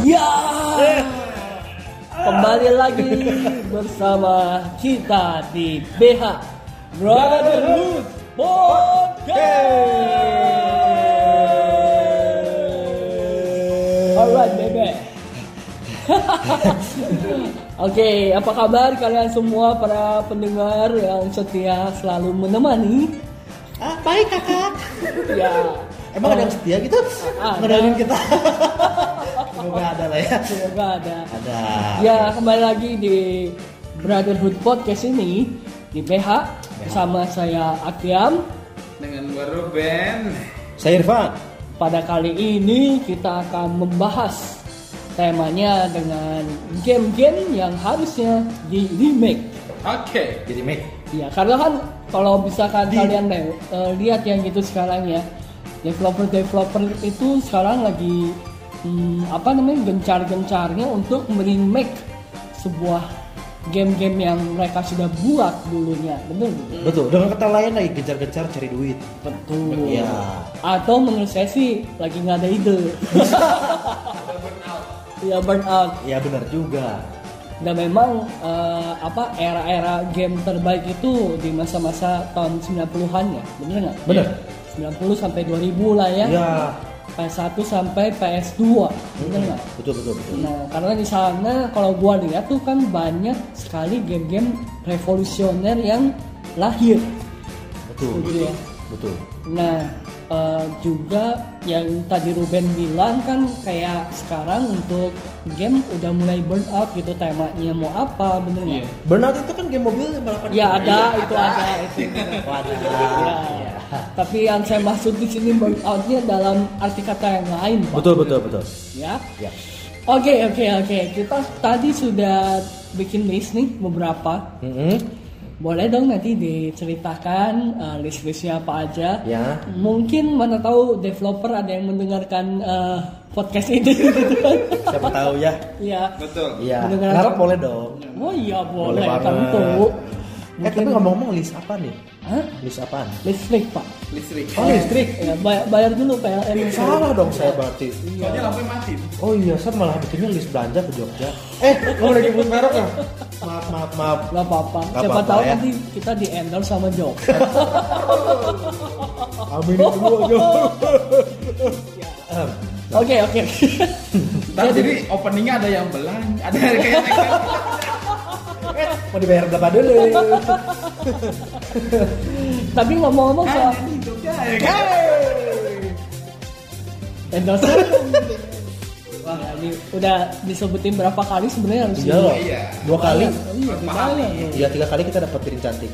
Ya. Kembali lagi bersama kita di BH Brotherhood Podcast. Alright, baby. Oke, apa kabar kalian semua para pendengar yang setia selalu menemani? Ah, baik kakak. Ya, Emang ada yang setia gitu? Ah, Ada. Ngedengerin kita. Semoga ada lah ya. semoga ada Ada. Ya kembali lagi di Brotherhood Podcast ini di BH bersama saya Akiam. dengan gua Ruben Saya Irfan. Pada kali ini kita akan membahas temanya dengan game-game yang harusnya di remake. oke Jadi Mik. Ya karena kan kalau misalkan Di- kalian le- eh, lihat yang gitu sekarang ya developer-developer itu sekarang lagi hmm, apa namanya gencar-gencarnya untuk remake sebuah game-game yang mereka sudah buat dulunya bener nggak? Betul. Dengan kata lain lagi gencar-gencar cari duit. betul Iya. atau menurut saya sih lagi nggak ada ide ya burn out Ya benar juga. dan memang eh, apa era-era game terbaik itu di masa-masa tahun 90-an ya bener nggak Bener. 90 sampai 2000 lah ya Ya. PS1 sampai PS2 bener nggak Betul betul betul. Nah, karena di sana kalau gua lihat tuh kan banyak sekali game-game revolusioner yang lahir. Betul. Betul ya. Betul. Nah, eh, juga yang tadi Ruben bilang kan kayak sekarang untuk game udah mulai burn out gitu temanya mau apa bener nggak? Burnout itu kan game mobil yang balapan. Ya ada itu ada itu. Waduh. Iya. Ya. Tapi yang saya maksud di sini burn outnya dalam arti kata yang lain, Pak. Betul betul betul. Ya. Ya. Oke oke oke. Kita tadi sudah bikin list nih beberapa. Mm-mm. Boleh dong nanti diceritakan eh, list-listnya apa aja. Ya. Mungkin mana tahu developer ada yang mendengarkan eh, podcast ini gitu kan. Siapa tahu ya. Iya. betul Iya. Mendengar- Harap boleh dong. Oh iya boleh, Boleh banget. tentu. Eh tapi ngomong-ngomong list apa nih? Hah? List apaan? Listrik, Pak. listrik Oh listrik. Ya, bayar, bayar dulu PLN. yang saya- Salah dong saya berarti. soalnya lampu mati Oh iya, saya malah bikinnya list belanja ke Jogja. Eh, kamu udah nyebut merek ya? Maaf, maaf, maaf. Gak apa-apa. Gak Siapa apa-apa tahu ya. nanti kita di endorse sama Jok. Amin dulu aja. Em, Oke, oke. Ntar jadi openingnya ada yang belang ada yang kayak Mau dibayar berapa dulu? Tapi Oh. ngomong-ngomong soal Kan, itu kan. endorse. Wah, ini udah disebutin berapa kali sebenarnya harus Iya di- loh, Iya. dua kali. Iya, gimana? Iya, tiga kali kita dapat piring cantik.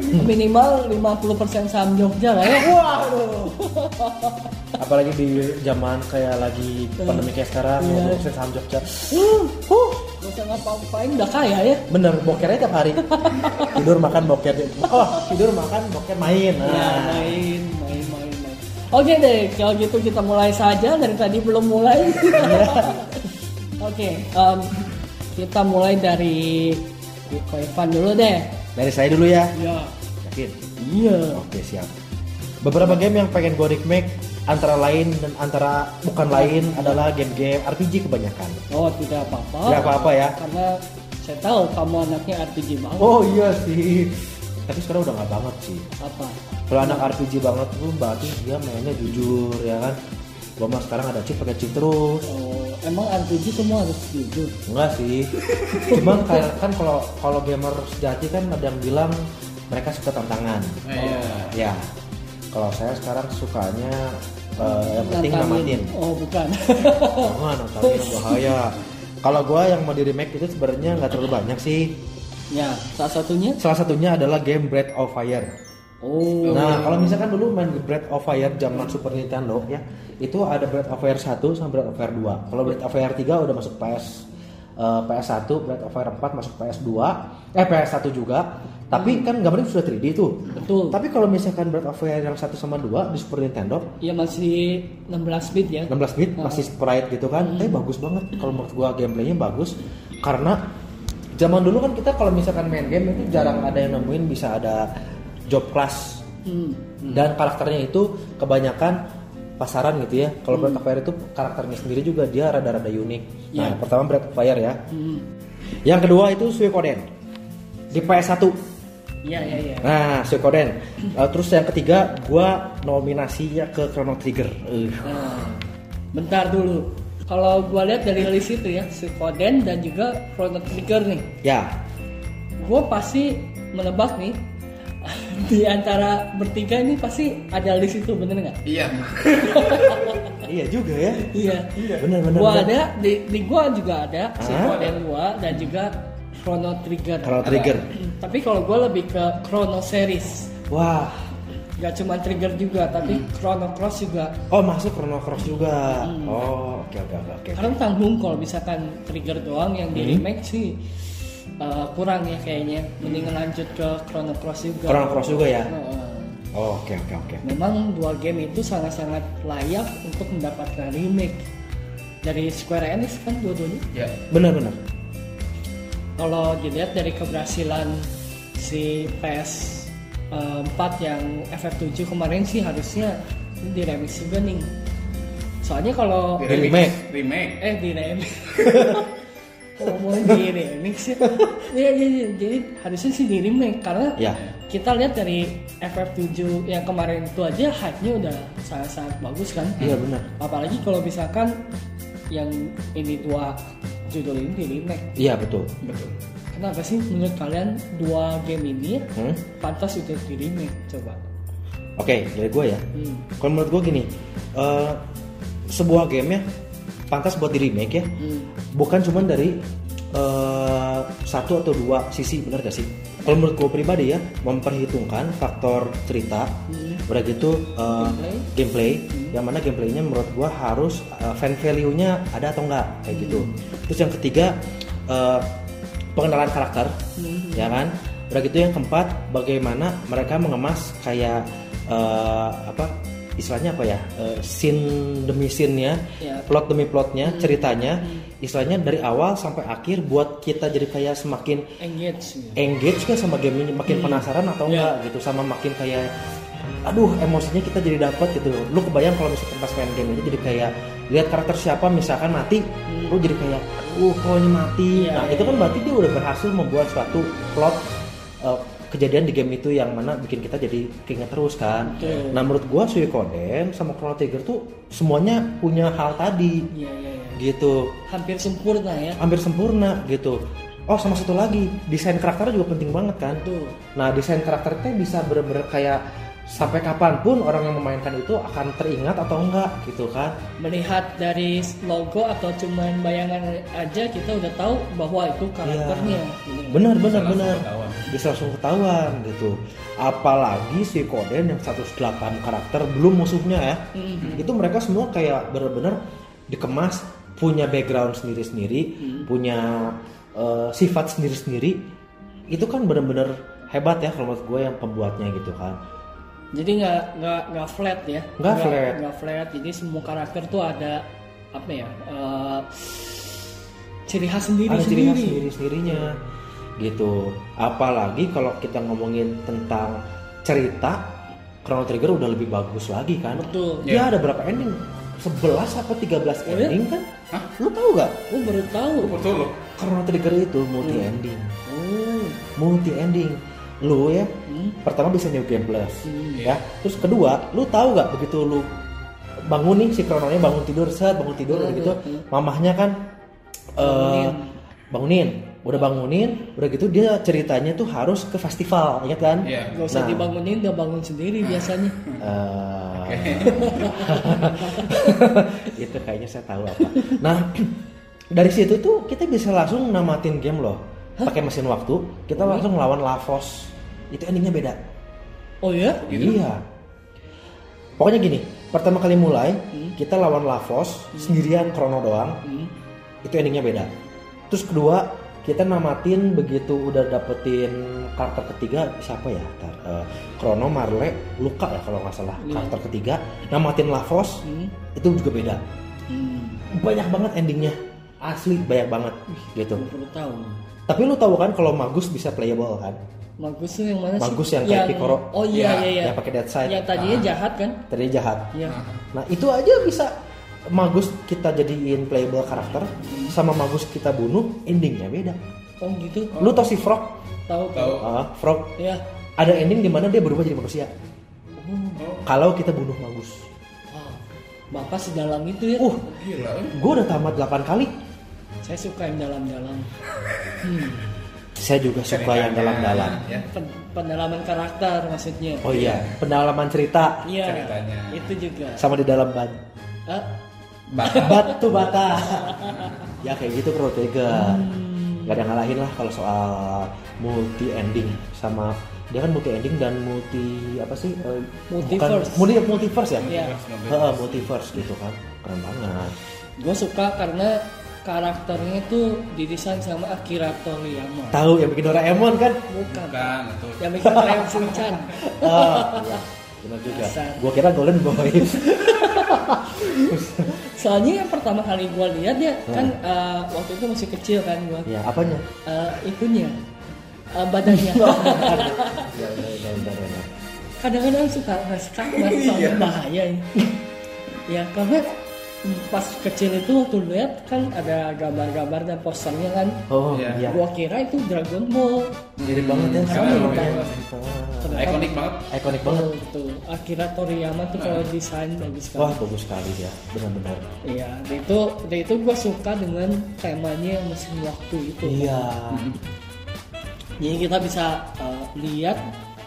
Hmm. Minimal 50% saham Jogja lah ya. Waduh. Apalagi di zaman kayak lagi pandemi kayak sekarang, Iya. ngomong saham Jogja. Huh, huh. Gak usah ngapa-ngapain udah kaya ya. Bener, bokernya tiap hari. Tidur makan boker. Oh, tidur makan boker main. Ya, Nah. main, main, main, main. Oke deh, kalau gitu kita mulai saja dari tadi belum mulai. Oke, em, kita mulai dari Ko Evan dulu deh. Dari saya dulu ya. Iya. Yakin? Iya. Oke siap. Beberapa game yang pengen gue remake antara lain dan antara bukan lain adalah game-game RPG kebanyakan. Oh, tidak apa-apa. Tidak apa-apa ya. Karena saya tahu kamu anaknya RPG banget. Oh iya sih. Tapi sekarang udah nggak banget sih. Apa? Kalau anak RPG banget tuh berarti dia mainnya jujur ya kan. Gue mah sekarang ada cheat pakai cheat terus. Oh, emang RPG semua harus jujur. Enggak sih. Cuman kayak kan kalau kalau gamer sejati kan ada yang bilang mereka suka tantangan. Oh, iya Ya. Kalau saya sekarang sukanya eh, yang penting Nantangin. namatin. Oh, bukan. Jangan, tapi yang bahaya. Kalau gua yang mau di remake itu sebenarnya nggak terlalu banyak sih. ya, salah satunya. Salah satunya adalah game Breath of Fire. Oh, Nah, kalau misalkan dulu main Breath of Fire zaman Super Nintendo ya, itu ada Breath of Fire 1 sama Breath of Fire 2. Kalau Breath of Fire 3 udah masuk PS eh, PS1, Breath of Fire 4 masuk PS2, eh PS1 juga. Tapi kan gambarnya sudah 3D tuh. Betul. Tapi kalau misalkan Breath of Fire yang 1 sama 2 di Super Nintendo ya masih 16 bit ya. 16 bit masih sprite gitu kan tapi bagus banget kalau menurut gua gameplaynya bagus karena zaman dulu kan kita kalau misalkan main game itu jarang ada yang nemuin bisa ada job class Hmm. dan karakternya itu kebanyakan pasaran gitu ya. Kalau Breath of Fire itu karakternya sendiri juga dia rada-rada unik. Iya. Nah, pertama Breath of Fire ya. Hmm. Yang kedua itu Suikoden di PS1. Iya iya iya. Nah, Suikoden. Eh, terus yang ketiga gua nominasinya ke Chrono Trigger. Eh, Nah, bentar dulu. Kalau gua lihat dari list itu ya, Suikoden dan juga Chrono Trigger nih. ya, Gua pasti menebak nih di antara bertiga ini pasti ada list itu bener nggak? Iya. iya juga ya. Iya. Bener bener. Gua bener. ada di, di gua juga ada Ah. Suikoden gua dan juga Chrono Trigger. Chrono Trigger. Hmm, Tapi kalau gua lebih ke Chrono series. Wah. Gak cuma Trigger juga, tapi Hmm. Chrono Cross juga. Oh, masuk Chrono Cross juga. Oh, oke oke oke oke. Karena tanggung kalau misalkan trigger doang yang Hmm. di remake sih uh, kurang ya kayaknya. Mending lanjut ke Chrono Cross juga. Chrono Cross juga ya. Uh, Oh, oke oke oke. memang dua game itu sangat-sangat layak untuk mendapatkan remake dari Square Enix kan dua-duanya. Iya. Bener bener. Kalau dilihat dari keberhasilan si PS 4 yang FF7 kemarin sih harusnya ini di remix juga nih. Soalnya kalau Di remake. Remake. eh di remix kalau mau di remix ya Iya, iya, iya. jadi harusnya sih di remake karena Ya. kita lihat dari FF7 yang kemarin itu aja hype-nya udah sangat-sangat bagus kan Iya bener. apalagi kalau misalkan yang ini dua judul ini di remake Iya betul. Betul. kenapa sih menurut kalian dua game ini Hmm? pantas untuk di remake coba Oke, dari gue ya. hmm. Kalau menurut gue gini, eh, sebuah game ya pantas buat di remake ya. Hmm. Bukan cuman dari eh, satu atau dua sisi, bener gak sih? Kalau menurut gue pribadi ya, memperhitungkan faktor cerita, Hmm. udah gitu eh, Gameplay. Hmm. gameplay, yang mana gameplaynya menurut gue harus eh, fan value-nya ada atau enggak kayak gitu. Hmm. Terus yang ketiga eh, pengenalan karakter, Hmm. ya kan udah gitu yang keempat bagaimana mereka mengemas kayak eh, apa istilahnya apa ya Eh, scene demi scene ya Ya. plot demi plotnya ceritanya istilahnya dari awal sampai akhir buat kita jadi kayak semakin engage gitu. engage kan sama game ini makin penasaran Ya. atau enggak gitu sama makin kayak aduh emosinya kita jadi dapat gitu lu kebayang kalau misalkan pas main game itu jadi kayak lihat karakter siapa misalkan mati Hmm. lu jadi kayak aduh kok ini mati Iya, nah iya, itu kan berarti dia udah berhasil membuat suatu plot eh, kejadian di game itu yang mana bikin kita jadi keinget terus kan Betul. nah menurut gua Suikoden sama Chrono Trigger tuh semuanya punya hal tadi Iya, iya, iya. gitu hampir sempurna ya hampir sempurna gitu. Oh sama satu lagi desain karakternya juga penting banget kan. Betul. Nah desain karakternya bisa bener-bener kayak sampai kapanpun orang yang memainkan itu akan teringat atau enggak gitu kan. melihat dari logo atau cuman bayangan aja kita udah tahu bahwa Iya. itu karakternya Bener. Bener bener Bisa langsung bener. ketahuan. Bisa langsung ketahuan gitu. Apalagi si Koden yang 108 karakter belum musuhnya ya. Itu mereka semua kayak bener-bener dikemas punya background sendiri-sendiri, punya eh, sifat sendiri-sendiri. Itu kan bener-bener hebat ya kalau menurut gue yang pembuatnya gitu kan. jadi nggak nggak nggak flat ya Nggak flat. nggak flat jadi semua karakter tuh ada apa ya eh, ciri khas sendiri ada ciri sendiri khas sendiri-sendirinya gitu apalagi kalau kita ngomongin tentang cerita Chrono Trigger udah lebih bagus lagi kan Betul. Ya. dia ada berapa ending 11 apa 13 Oh, iya? ending kan Hah? lu tahu gak Gua baru tahu Betul loh. Chrono Trigger itu multi Iya. ending oh multi ending lu ya Hmm. pertama bisa new game plus Hmm. ya terus kedua lu tahu nggak begitu lu bangun nih si krononya bangun tidur set bangun tidur udah gitu Hmm. mamahnya kan eh bangunin udah bangunin udah gitu dia ceritanya tuh harus ke festival ingat kan Iya. nggak usah Nah. dibangunin udah bangun sendiri biasanya Ah. Eh, itu kayaknya saya tahu apa. Nah, dari situ tuh kita bisa langsung namatin game loh. Pakai mesin waktu, kita langsung lawan Lavos. Itu endingnya beda. oh ya Iya. Pokoknya gini, pertama kali mulai kita lawan Lavos sendirian Krono doang. Hmm. Itu endingnya beda. Terus kedua kita namatin begitu udah dapetin karakter ketiga siapa ya? Ntar, eh, Krono, Marle, Luka ya kalau nggak salah. Karakter ketiga namatin Lavos Hmm. itu juga beda. Hmm. Banyak banget endingnya. Asli banyak banget gitu. Hmm. Gua baru tahu Tapi lu tahu kan kalau Magus bisa playable kan? Bagus tuh yang mana sih? Bagus yang kayak Piccolo. Oh iya iya Ya, iya. yang Nah. pakai Dead Side. Yang tadinya Ah. jahat kan? Tadi jahat. Iya. Nah itu aja bisa Magus kita jadiin playable karakter sama Magus kita bunuh endingnya beda. Oh gitu. Lu tau si Frog? Tahu kan? Tahu. Ah, Frog Iya. ada ending di mana dia berubah jadi manusia. Hmm. Oh, Kalau kita bunuh Magus, Wow. Ah, Bapak sedalam itu ya. uh, Oh, gila. gue udah tamat 8 kali. Saya suka yang dalam-dalam. Hmm. Saya juga suka yang dalam-dalam. Ya. Pen- pendalaman karakter maksudnya. Oh iya, pendalaman cerita Iya. Ceritanya. Itu juga. sama di dalam ban. Ah, Bakal. Batu bata. ya kayak gitu Pro Tiger. Hmm. Gak ada ngalahin lah kalau soal multi ending sama dia kan multi ending dan multi apa sih? eh, Multiverse. Bukan, multi- multiverse ya? Iya. Heeh, multiverse gitu kan. Keren banget. gue suka karena karakternya itu didesain sama Akira Toriyama. Tahu yang bikin Doraemon kan? Bukan. Bukan, betul. Yang bikin Ryan Shinchan. Ah, iya. Benar juga. Dasar. Gua kira Golden Boy. Soalnya yang pertama kali gue lihat ya kan eh, waktu itu masih kecil kan gue. ya, apanya? itunya eh, badannya. Ya, ya, ya, ya, ya, ya. Kadang-kadang suka nggak suka nggak suka Iya. bahaya ini. ya karena mm, pas kecil itu waktu lihat kan ada gambar-gambar dan posternya kan. Oh, Iya. iya. Gue kira itu Dragon Ball. Mirip banget ya sama Sama yang banget. kita. Ikonik banget. Ikonik banget. Tuh, tuh. gitu. Akira Toriyama tuh kalau desain bagus Nah. Wah, banget. bagus sekali ya. Benar-benar. Iya, dan itu dan itu gue suka dengan temanya yang mesin waktu itu. Iya. Jadi kita bisa uh, lihat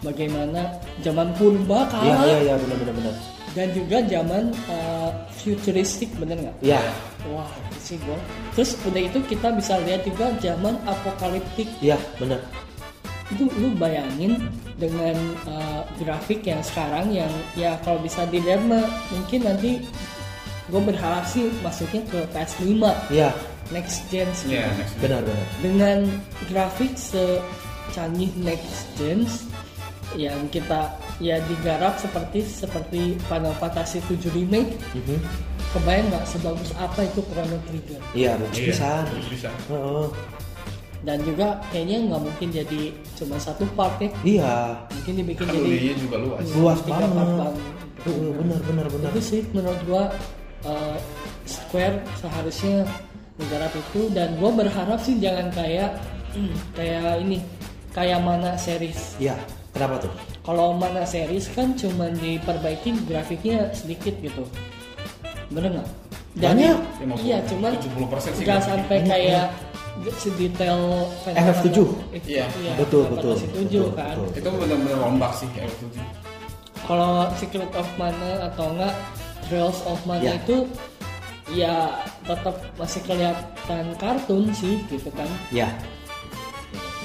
bagaimana zaman purba Iya, kalah iya, iya, benar-benar benar. dan juga zaman uh, futuristik bener nggak? Iya. Wah, itu sih gue. Terus udah itu kita bisa lihat juga zaman apokaliptik. Iya, benar. Itu lu bayangin dengan uh, grafik yang sekarang yang ya kalau bisa dilihat mah, mungkin nanti gue berharap sih masuknya ke PS5 Iya, next gen sih. Iya, next. benar benar. dengan grafik secanggih next gen yang kita ya digarap seperti seperti Final Fantasy 7 remake Mhm. kebayang nggak sebagus apa itu Chrono Trigger Iya, bagus Iya, bisa. bagus Bisa. Heeh. dan juga kayaknya nggak mungkin jadi cuma satu part ya Iya. mungkin dibikin Kan jadi dunianya juga luas. Iya. Luas Tiga banget. papan. Heeh, benar benar benar. itu sih menurut gua eh, Square seharusnya menggarap itu dan gua berharap sih jangan kayak hmm, kayak ini kayak mana series Iya. Kenapa tuh? Kalau mana series kan cuman diperbaikin grafiknya sedikit gitu. Bener nggak? Dan- Banyak. Ya, Iya. Iya, cuman 70% sih nggak grafiknya. sampai kayak nggak sedetail FF7. Iya. Betul, betul, betul, 7 kan. betul. Itu benar-benar rombak sih kayak waktu itu. Kalau Secret of Mana atau enggak Trails of Mana Iya. itu ya tetap masih kelihatan kartun sih gitu kan. Iya.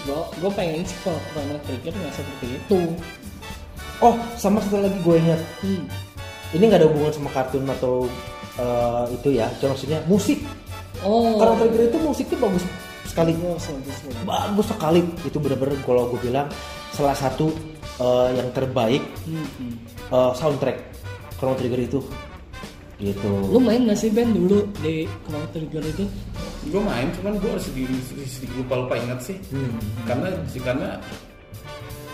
Gue gue pengen sih kalau Chrono Trigger nggak seperti itu. Oh, sama satu lagi gue ingat. Hmm. Ini nggak ada hubungan sama kartun atau eh, itu ya. Cuma maksudnya musik. Oh. Iya, Karena Trigger itu musiknya bagus sekali. Bagus, bagus, bagus. bagus sekali itu bener-bener kalau gue bilang salah satu eh, yang terbaik Hmm, hmm. eh, soundtrack Chrono Trigger itu gitu Lu main gak sih band dulu di Chrono Trigger itu? Gue main, cuman gue sedikit, sedikit lupa lupa ingat sih. Karena karena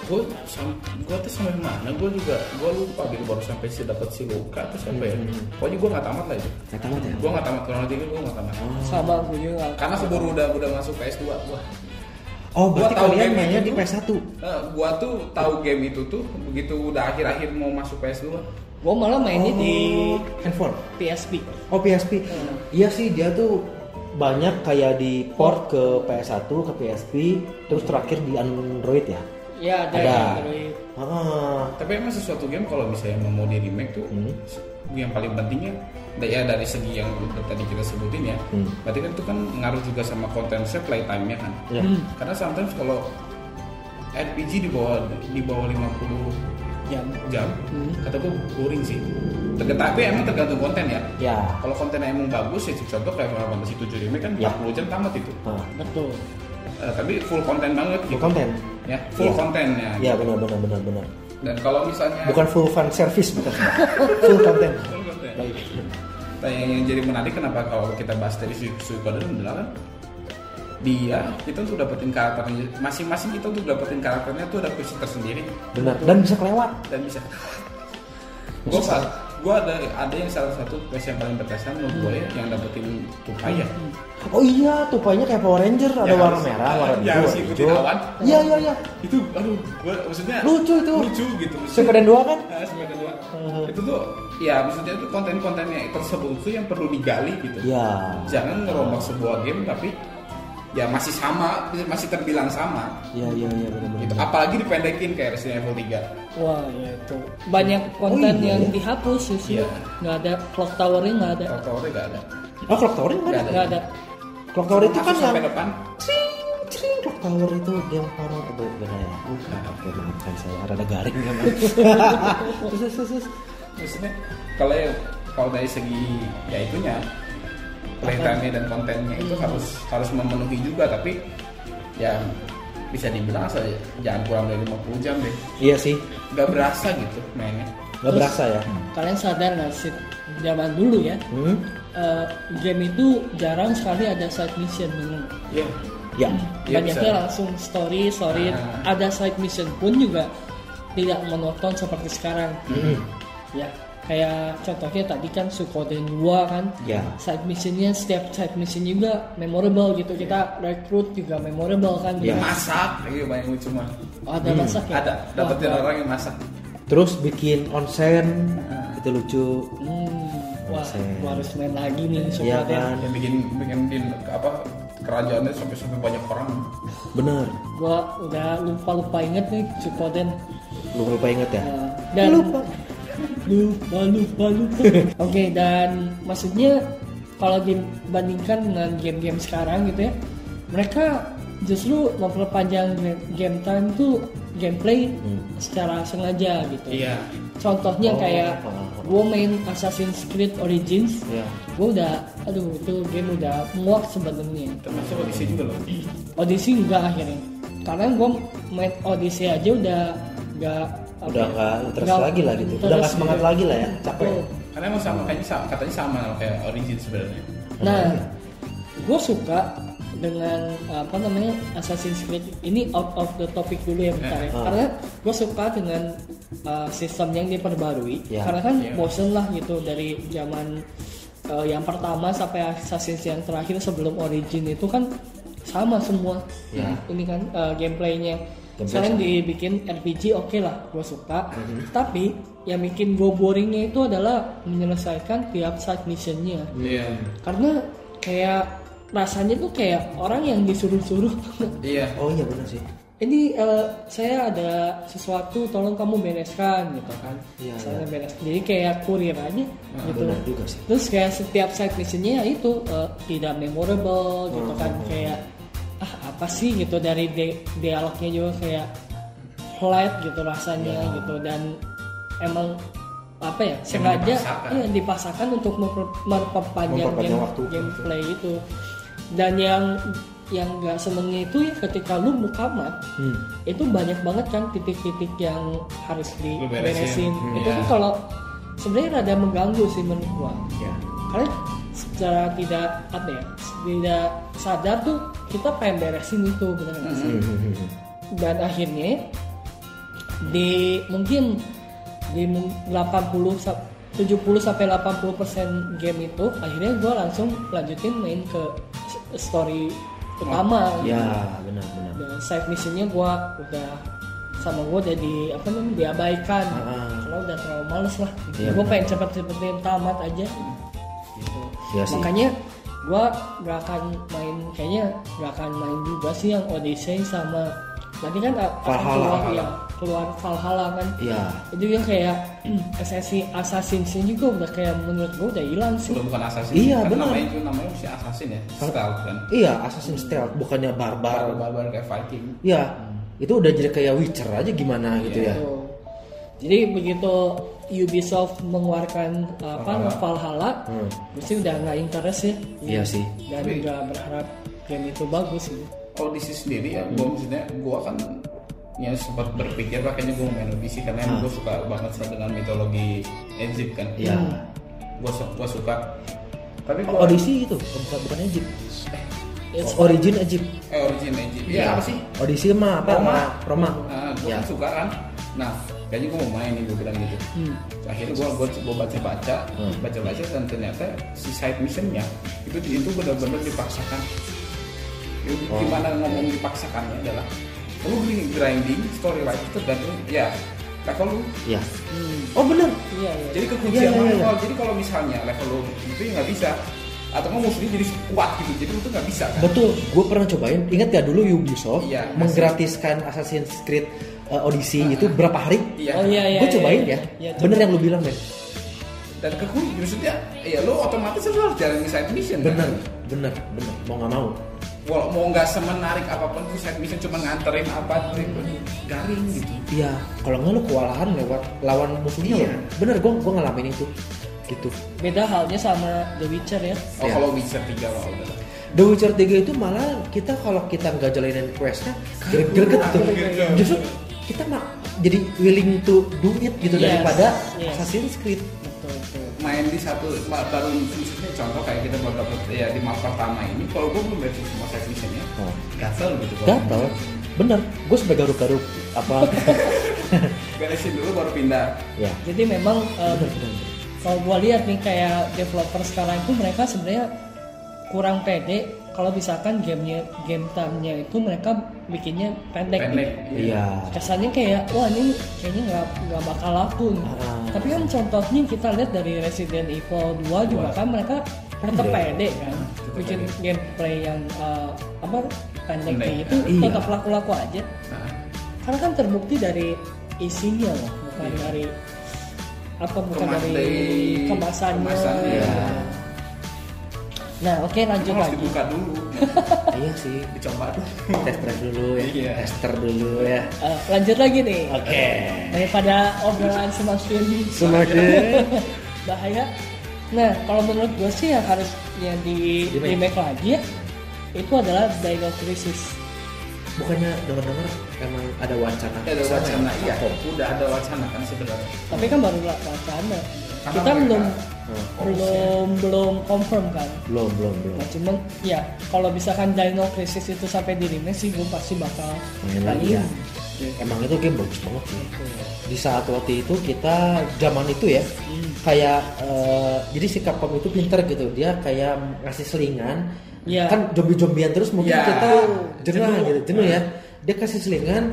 gue sam gue tuh sampai mana gue juga gue lupa gitu baru sampai si dapat si luka atau sampai ya pokoknya gue nggak tamat lah itu Nggak tamat ya? gue nggak tamat kronologi gue nggak tamat Sama gue juga. karena sebelum udah udah masuk PS 2 gue oh berarti Gua tahu kalian game mainnya itu di tuh. PS1 Eh, gua tuh tahu game itu tuh begitu udah akhir-akhir mau masuk PS2. Gue malah mainnya Oh, Nah, di handphone PSP. oh PSP iya sih dia tuh banyak kayak di port ke PS1 ke PSP terus terakhir di Android ya Ya, ada. Ada. Android. ah Tapi emang sesuatu game kalau misalnya emang mau di remake tuh Hmm. yang paling pentingnya da- ya dari segi yang tadi kita sebutin ya. Hmm. Berarti kan itu kan ngaruh juga sama kontennya playtime-nya kan. ya. Hmm. Karena sometimes kalau RPG di bawah di bawah 50 Ya. jam, Hmm. kata gua boring sih. Terg- Tapi emang tergantung konten ya. ya Kalau kontennya emang bagus ya contoh kayak Final Fantasy 7 remake kan Ya. 40 jam tamat itu. Ah, Betul. Eh, tapi full konten banget full gitu. konten ya full Iya. kontennya ya benar benar benar benar dan kalau misalnya bukan full fan service bukan full konten Full konten. baik Nah, yang, yang jadi menarik kenapa kalau kita bahas dari Su- Suikoden adalah kan dia kita tuh dapetin karakternya masing-masing kita tuh dapetin karakternya tuh ada quest tersendiri benar dan bisa kelewat dan bisa gue gue ada ada yang salah satu quest yang paling berkesan menurut gue yang dapetin tupai ya oh iya tupainya kayak Power Ranger ada warna Yang Ya, harus- merah warna yang biru harus warna ikutin hijau. awan. iya iya iya itu aduh gue maksudnya Lucu itu. Hmm. lucu gitu Sepadan dua kan Nah, sebagai kedua itu tuh ya maksudnya itu konten-kontennya tersebut tuh yang perlu digali gitu Iya. jangan ngerombak sebuah game tapi ya masih sama masih terbilang sama iya iya iya gitu benar-benar apalagi dipendekin kayak Resident Evil 3 Wah, ya itu banyak konten Oh, iya, yang ya? dihapus sih. Iya. Nggak ada clock towernya nggak ada. faktornya gak ada oh clock tower nggak ada Nggak Nggak ada. clock tower itu Masuk kan yang sampai depan cing cing clock tower itu yang orang oh, benar ya oke maafkan saya rada garing ya Mas. terus terus, terus terus. maksudnya kalau yang kalau dari segi ya itunya playtime dan kontennya Hmm. itu harus harus memenuhi juga tapi ya bisa dibilang saja jangan kurang dari 50 jam deh iya sih nggak berasa gitu mainnya nggak Terus- berasa ya Kalian sadar nggak sih zaman dulu ya? hmm? eh, game itu jarang sekali ada side mission bener. ya ya Iya, Banyaknya bisa. langsung story, story. Ah. Ada side mission pun juga tidak monoton seperti sekarang. Hmm. Ya, kayak contohnya tadi kan Sukoden 2 kan. Ya. Side missionnya setiap side mission juga memorable gitu. Kita rekrut juga memorable kan. Ya. Iya. masak lagi banyak lucu mah Oh, Hmm. ada masak ya? ada dapetin Wah, orang yang masak terus bikin onsen itu lucu Hmm, wah, Masak. gua harus main lagi nih Sukoden. Iya kan yang bikin bikin, bikin apa kerajaannya sampai sampai banyak orang bener Gua udah lupa-lupa inget nih Sukoden. lu lupa inget ya Nah, dan lupa lupa lupa lupa. oke dan maksudnya kalau dibandingkan dengan game-game sekarang gitu ya mereka justru memperpanjang game, game time tuh gameplay secara sengaja gitu iya contohnya Hmm. Oh. kayak gue main Assassin's Creed Origins Iya. gue udah aduh itu game udah muak sebenarnya termasuk Odyssey juga loh Odyssey enggak akhirnya karena gue main Odyssey aja udah enggak apa udah ya, nggak interest nggak lagi lah gitu udah interest nggak semangat gitu. lagi lah ya capek Betul. karena emang sama kayaknya sama, katanya sama kayak Origin sebenarnya Nah, gue suka dengan apa namanya Assassin's Creed ini out of the topic dulu ya bentar ya. Ah. Karena gue suka dengan uh, sistem yang diperbarui. Ya. Karena kan Ya. bosen lah gitu dari zaman uh, yang pertama sampai Assassin's yang terakhir sebelum Origin itu kan sama semua. Ya. Ini kan uh, gameplaynya. Gameplay Selain sama. Mhm. dibikin RPG oke lah, gue suka. Tapi yang bikin gue boringnya itu adalah menyelesaikan tiap side missionnya iya karena kayak rasanya tuh kayak orang yang disuruh-suruh iya oh iya bener sih ini eh, saya ada sesuatu tolong kamu bereskan gitu kan Iya, Ah, saya beres jadi kayak kurir aja gitu bener Nah, juga sih terus kayak setiap side missionnya ya itu eh, tidak memorable gitu kan Hmm. kayak ah apa sih gitu dari di- dialognya juga kayak flat gitu rasanya Ya. gitu dan emang apa ya sengaja dipaksakan. iya, dipaksakan untuk memper- memperpanjang Memperpanjang game- waktu. gitu. gameplay itu dan yang yang nggak senengnya itu ya ketika lu mukamat hmm. itu banyak banget kan titik-titik yang harus Lu beresin. diberesin Hmm, itu iya. kan kalau sebenarnya rada mengganggu sih menurut gua ya karena secara tidak apa ya tidak sadar tuh kita pengen beresin itu benar nggak sih? Hmm. dan akhirnya di mungkin di mung- 80 sa- 70 sampai 80 persen game itu akhirnya gua langsung lanjutin main ke s- story utama ya benar benar dan side missionnya gue udah sama gue jadi apa namanya diabaikan Ah. karena udah terlalu males lah Iya, gue benar. pengen cepet-cepetin tamat aja gitu. Iya sih. makanya gue gak akan main kayaknya gak akan main juga sih yang Odyssey sama tadi kan a- akan Valhalla, keluar Valhalla. yang keluar Valhalla kan ya itu yang kayak esensi assassinnya juga udah kayak menurut gue udah hilang sih udah bukan assassin Iya, kan benar. namanya itu namanya si assassin ya stealth kan iya assassin stealth bukannya barbar barbar kayak fighting ya itu udah jadi kayak witcher aja gimana gitu ya Tuh. Jadi begitu Ubisoft mengeluarkan apa Valhalla. Valhalla, Hmm. mesti udah nggak interest ya. Iya sih. Dan Tapi- nggak berharap game itu bagus sih. Odyssey sendiri ya gue maksudnya gue kan ya sempat berpikir lah kayaknya gue main Odyssey karena emang gue suka banget sama dengan mitologi Egypt kan ya gue suka tapi gue Oh, Odyssey itu bukan bukan Egypt It's Origin Egypt. eh origin Egypt Iya. ya apa sih Odyssey mah apa? Roma. Roma. Nah, gue Ya. kan suka kan. Nah, kayaknya gue mau main nih gue bilang gitu. Hmm. Akhirnya gue gue baca-baca, baca-baca dan ternyata si side missionnya itu itu benar-benar dipaksakan. Ya, Gimana ngomong dipaksakannya adalah lu gini grinding story life itu tergantung ya level lu. Ya. Oh bener. Iya, iya. Jadi Iya, kekuncian iya, iya. level. Jadi kalau misalnya level lu itu ya nggak bisa atau nggak musuhnya jadi kuat gitu. Jadi lu tuh nggak bisa kan. Betul. Gue pernah cobain. Ingat gak dulu Ubisoft Iya. menggratiskan Assassin's Creed uh, Odyssey itu berapa hari? Oh iya iya. gue cobain iya, ya. iya. Iya, bener coba. yang lu bilang men. Dan kekuncian maksudnya ya lu otomatis lu harus jalanin side mission. kan? Bener, bener, bener. Mau nggak mau. Walau mau nggak semenarik apapun tuh saya bisa cuma nganterin apa tuh garing gitu. Iya. Kalau nggak lu kewalahan lewat lawan musuhnya. Iya. loh. Bener. Gue gue ngalamin itu. Gitu. Beda halnya sama The Witcher ya. Oh Iya. kalau Witcher 3 wah udah. The Witcher 3 itu malah kita kalau kita nggak jalanin questnya greget tuh. Greget. Justru kita mah jadi willing to do it gitu Yes, daripada yes. Assassin's Creed. Betul betul. Main di satu ma- baru misalnya contoh kayak kita baru dapet ya di map pertama ini kalau gue belum baca semua side missionnya Oh. gatel gitu. kalau Gatel, bener. Gue sampai garuk-garuk apa? Beresin dulu baru pindah. ya. Jadi memang eh, Bener, bener. kalau gua lihat nih kayak developer sekarang itu mereka sebenarnya kurang pede kalau misalkan gamenya game time-nya itu mereka bikinnya pendek. Pendek. Iya. Kesannya kayak wah ini kayaknya nggak nggak bakal laku. nih. Ah. Tapi kan contohnya kita lihat dari Resident Evil 2 juga kan mereka tetap pede kan Tetap bikin pede. gameplay yang eh, apa pendek Pendek. kayak gitu Iya. tetap laku-laku aja Nah, karena kan terbukti dari isinya loh bukan Iya. dari apa bukan Kemas- dari dari kemasannya kemasannya. Iya. nah oke itu lanjut harus lagi dibuka dulu, iya sih. dicoba dulu. Tes drive dulu ya. Iya. Tester dulu ya. Eh, lanjut lagi nih Oke. daripada obrolan semakin Semakin bahaya nah kalau menurut gue sih yang harus yang di Remake. remake lagi ya itu adalah Dino Crisis bukannya dengar-dengar emang ada wacana Ada kesana ya? wacana, iya. Capcom. Udah ada wacana kan sebenarnya. tapi kan baru lah wacana Karena kita mereka- belum Hmm. belum belum confirm kan Belum, belum, belum. Nah cuman ya kalau misalkan Dino Crisis itu sampai di remake sih gue pasti bakal Main lagi ya. Emang itu game bagus banget sih. Di saat waktu itu kita zaman itu ya Hmm. kayak eh, jadi si Capcom itu pinter gitu dia kayak ngasih selingan Iya. kan zombie-zombian terus mungkin Iya. kita jenuh Jenuh. Iya. gitu jenuh ya dia kasih selingan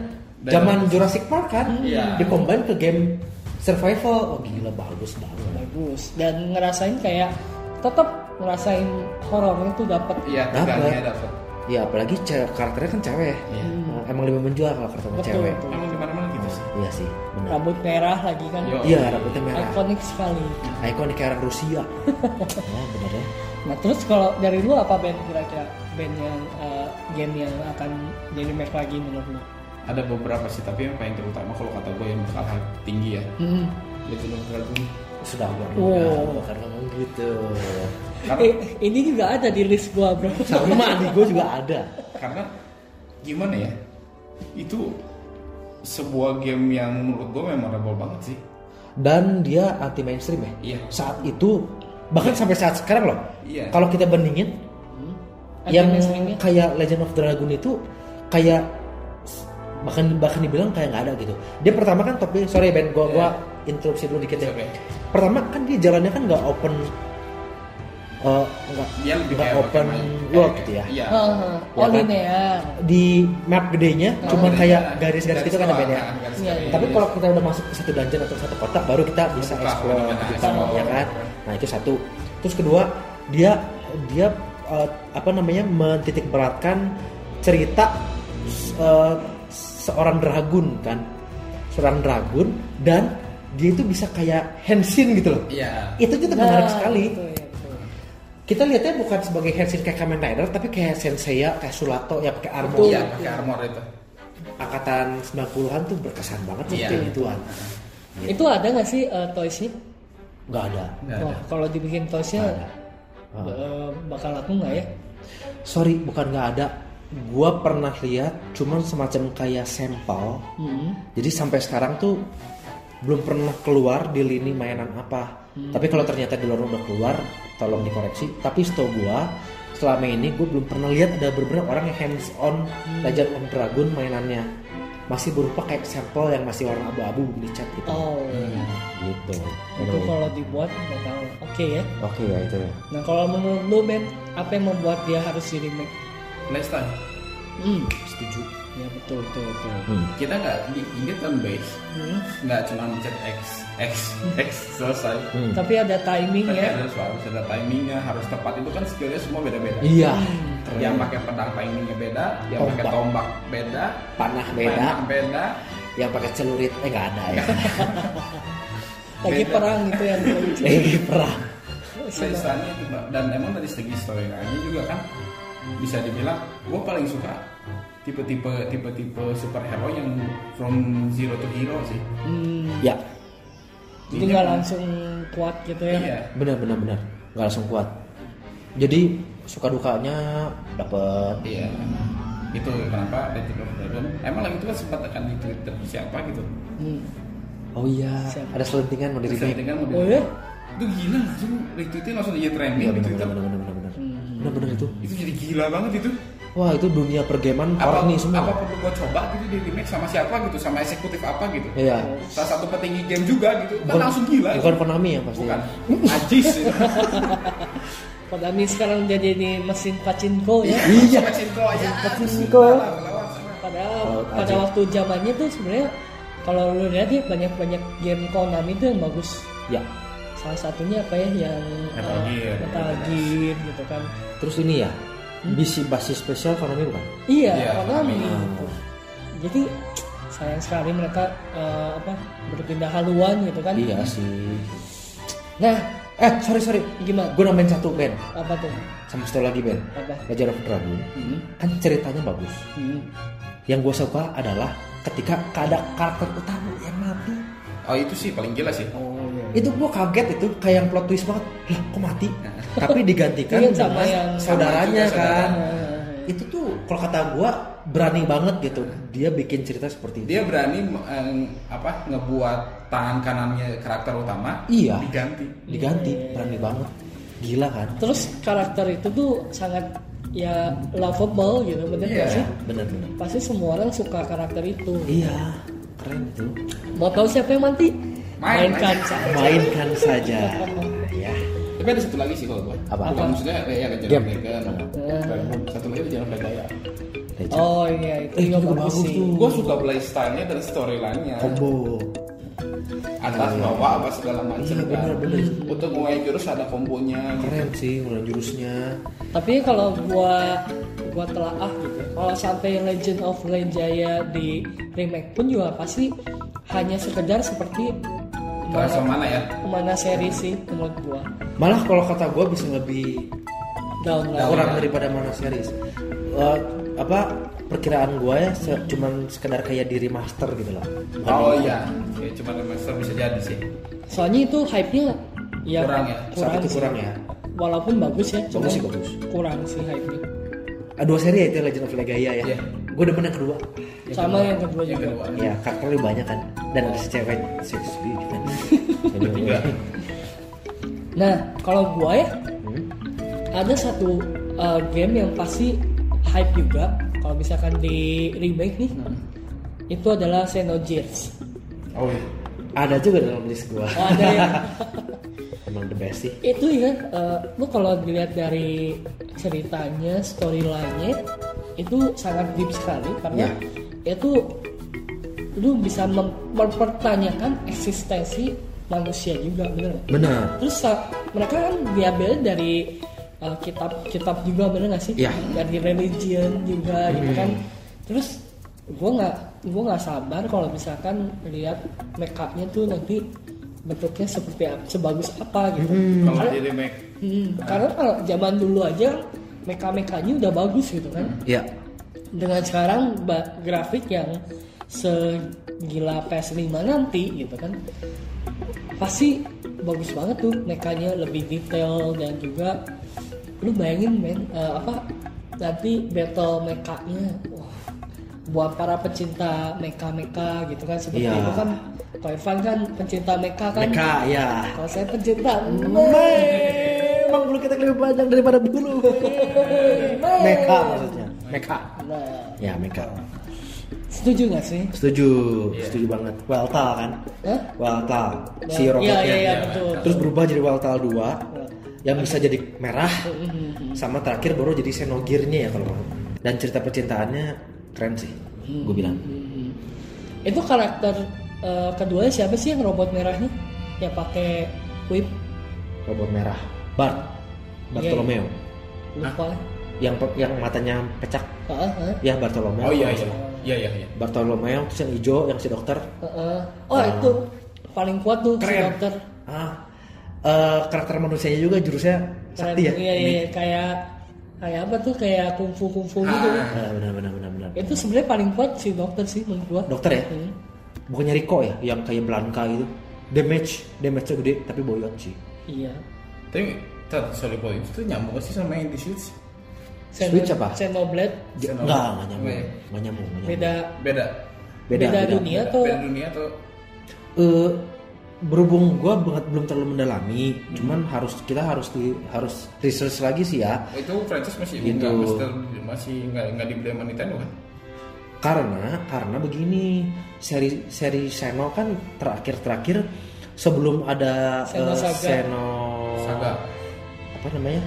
Dan- zaman Jurassic Park kan Iya. dikombin ke game survival oh gila bagus banget bagus dan ngerasain kayak tetap ngerasain horor itu dapat Iya, Dapat. tegangnya dapat. ya apalagi cewek karakternya kan cewek Iya. Nah, emang lebih menjual kalau karakternya Betul, cewek betul. Emang di mana-mana gitu sih. iya sih benar rambut merah lagi kan Yo. iya rambutnya merah ikonik sekali. ikonik era Rusia ya benar ya Nah terus kalau dari lu apa band kira-kira band yang eh, game yang akan jadi remake lagi menurut lu? Ada beberapa sih, tapi yang paling terutama kalau kata gue yang bakal hype tinggi ya. Hmm. Legend of Dragon. sudah gua Wow. wow. karena ngomong gitu Karena Eh, ini juga ada di list gua bro. sama di gua juga ada karena gimana ya itu sebuah game yang menurut gue memorable banget sih dan dia anti mainstream ya Iya. saat itu bahkan sampai saat sekarang loh Iya. kalau kita bandingin Anti yang mainstream-nya? kayak Legend of Dragon itu kayak bahkan bahkan dibilang kayak nggak ada gitu dia pertama kan topnya sorry Ben gua gua interupsi dulu dikit ya Oke. pertama kan dia jalannya kan nggak open eh, nggak dia lebih nggak kayak open pakai main- world kayak- gitu ya iya Ah, oh Ya kan? linear. di map gedenya Nah, cuman jadi kayak jalan. garis-garis gitu kan doang, Ben ya nah, garis- Iya, iya. tapi kalau kita udah masuk ke satu dungeon atau satu kota baru kita bisa Buka, explore buka, bisa buka. ya kan nah itu satu terus kedua dia dia eh, apa namanya mentitik beratkan cerita eh, seorang dragon kan seorang dragon dan dia itu bisa kayak hensin gitu loh iya itu juga menarik sekali Betul, ya, betul. kita lihatnya bukan sebagai hensin kayak Kamen Rider tapi kayak Senseiya kayak Sulato ya pakai armor iya pakai armor itu angkatan 90-an tuh berkesan banget tuh Iya. kayak gituan. Itu ada nggak sih eh, toys-nya? Nggak ada. Nggak Wah, ada. kalau dibikin toysnya Nggak ada. ba- eh, bakal laku nggak ya? Ah. Sorry, bukan nggak ada. Gua pernah lihat cuman semacam kayak sampel. Hmm. Jadi sampai sekarang tuh belum pernah keluar di lini Hmm. mainan apa. Tapi kalau ternyata di luar udah keluar, tolong dikoreksi. Tapi setahu gua selama ini gue belum pernah lihat ada beberapa orang yang hands on Legend of Dragon mainannya masih berupa kayak sampel yang masih warna abu-abu dicat gitu Oh, gitu itu kalau dibuat nggak tahu. Oke ya. oke ya itu ya Nah kalau menurut lu Ben, apa yang membuat dia harus di remake? next time Hmm, setuju ya betul betul betul. kita nggak di- ini turn base Hmm, nggak cuma mencet X X X selesai Hmm, Tapi ada Iya. timing tapi ya. ada harus ada timingnya harus tepat itu kan skillnya semua beda-beda iya yang pakai pedang timingnya beda yang pakai Tombak. tombak beda panah beda pedang beda yang pakai celurit eh nggak ada ya Lagi Beda. perang gitu yang lucu. eh perang Iya. Sisanya itu Mbak. dan emang dari segi storyline juga kan bisa dibilang gue paling suka tipe-tipe tipe-tipe superhero yang from zero to hero sih Hmm, ya jadi nggak langsung kuat gitu ya. iya benar benar benar nggak langsung kuat jadi suka dukanya dapet iya itu kenapa Legend of Dragon emang lagi itu kan sempat akan di Twitter siapa gitu Hmm. oh iya Siap. ada selentingan mau di remake Settingan Oh ya? model itu kan gila langsung retweetnya langsung jadi trending iya di benar Twitter. benar benar benar benar benar Hmm. benar benar itu itu jadi gila banget itu wah itu dunia pergaman apa, orang nih semua apa perlu gue coba gitu di remake sama siapa gitu sama eksekutif apa gitu iya salah satu petinggi game juga gitu kan langsung gila bukan itu. Konami yang pasti ya. bukan Hmm, ajis itu Konami sekarang udah jadi mesin pacinko ya. iya Pacinko ya Pacinko. lawan, lawan, sama. Padahal Oh, pada Aji. waktu zamannya tuh sebenarnya kalau lu lihat ya banyak-banyak game Konami itu yang bagus. ya Salah satunya apa ya yang Metal eh, Gear. Metal Gear gitu kan. terus ini ya Hmm? bisi basi spesial Konami bukan Iya, Iya, Konami. Konami. gitu. Jadi sayang sekali mereka eh, apa berpindah haluan gitu kan. iya sih Nah, eh sorry sorry gimana? gue nambahin satu band Apa tuh? sama satu lagi band Apa? Legend of Dragon Hmm. kan ceritanya bagus Hmm. yang gue suka adalah ketika ada karakter utama yang mati oh itu sih paling gila sih Oh iya. itu gue kaget itu kayak yang plot twist banget lah kok mati tapi digantikan Iya, sama sama yang- saudaranya sama juga kan saudaranya. itu tuh kalau kata gue berani banget gitu dia bikin cerita seperti itu dia berani eh, apa ngebuat tangan kanannya karakter utama Iya. diganti diganti Hmm. berani banget gila kan Terus karakter itu tuh sangat ya lovable gitu, bener nggak Iya. sih? bener bener Pasti semua orang suka karakter itu. iya keren itu Mau tahu siapa yang mati? Main, Mainkan main. saja. mainkan saja ya tapi ada satu lagi sih kalau gue Apa? bukan maksudnya ya Legend of Game. Dragon satu lagi Legend of Dragon Legend. Oh iya itu Eh, juga itu juga bagus bagus sih. tuh. gue suka playstyle-nya dan storyline-nya combo atas bawah apa segala macam Iya, kan bener, bener. untuk mulai jurus ada kombonya gitu. keren sih mulai jurusnya Tapi kalau gua gua telaah gitu, kalau sampai Legend of Legend Jaya di remake pun juga pasti hanya sekedar seperti terasa mana ya mana seri sih menurut gua malah kalau kata gue bisa lebih down lah. kurang daripada mana series Eh, apa perkiraan gue ya se- cuman sekedar kayak di remaster gitu loh Bukan oh di- iya ya, cuma remaster bisa jadi sih Soalnya itu hype-nya ya Kurang ya, saat itu sih. kurang ya Walaupun bagus ya, cuma Bagus sih, bagus. kurang sih hype-nya. Ah, dua seri ya itu Legend of Legaia ya Iya. gue demen yang kedua Sama yang kedua yang juga. kedua ya karakternya banyak kan dan ada si cewek si si gitu. Ketiga. Nah, kalau gua ya Hmm. ada satu uh, game yang pasti hype juga kalau misalkan di remake nih itu adalah Xenogears oh iya ada juga dalam list gue oh, ada yang emang the best sih itu ya uh, lu kalau dilihat dari ceritanya storyline-nya itu sangat deep sekali karena itu lu bisa mem- mempertanyakan eksistensi manusia juga bener nggak? benar Terus uh, mereka kan diambil dari uh, kitab-kitab juga bener gak sih? Iya. Dari religion juga gitu kan. Terus gue nggak gue nggak sabar kalau misalkan lihat makeupnya tuh nanti bentuknya seperti apa, sebagus apa gitu. kalau Karena, di remake Hmm, karena kalau zaman dulu aja meka-mekanya udah bagus gitu kan. ya Dengan sekarang ba- grafik yang segila PS5 nanti gitu kan pasti bagus banget tuh mekanya lebih detail dan juga lu bayangin men eh, apa nanti battle mekanya wah buat para pecinta meka-meka gitu kan seperti Iya. itu kan Koi Fan kan pencinta meka kan mereka ya kalau saya pencinta meme emang bulu kita lebih panjang daripada bulu. Iya. Meka maksudnya. Meka. Nah, Ya, Meka. setuju nggak sih? Setuju, Iya. setuju banget. Weltal kan? Hah? Weltal si Iya, robotnya. iya, iya, betul. Terus berubah jadi Weltal 2 yang bisa jadi merah Mm-hmm. sama terakhir baru jadi senogirnya ya kalau mau. Dan cerita percintaannya keren sih. Hmm. Gue bilang. Itu karakter eh, keduanya siapa sih yang robot merahnya? Yang pakai whip? Robot merah. Bart. Iya, Bartolomeo. Lupa. Yang pe- yang matanya pecah. Heeh, heeh. Ya Bartolomeo. oh iya iya iya iya iya Bartolomeo terus yang hijau yang si dokter heeh. Oh, itu paling kuat tuh si Keren. dokter. ah eh, karakter manusianya juga jurusnya Keren. sakti ya Iya, iya, iya. kayak kayak apa tuh kayak kungfu-kungfu gitu. Ah, benar benar benar benar Itu sebenarnya paling kuat si dokter sih menurut gua. dokter ya Hmm. bukannya Rico ya yang kayak Blanca gitu damage damage-nya gede tapi boyong sih Iya. tapi tar, sorry boy itu tuh nyambung gak sih sama yang di switch Switch apa? Xenoblade J- Senang. enggak enggak nyambung Weh. enggak nyambung enggak nyambung. beda beda beda, dunia atau beda dunia atau Eh, berhubung gua banget belum terlalu mendalami cuman harus kita harus di harus research lagi sih ya itu franchise masih Gitu. nggak masih ter- masih nggak nggak dibeli sama Nintendo kan karena karena begini seri seri Seno kan terakhir terakhir sebelum ada Seno eh, Saga. Seno Saga apa namanya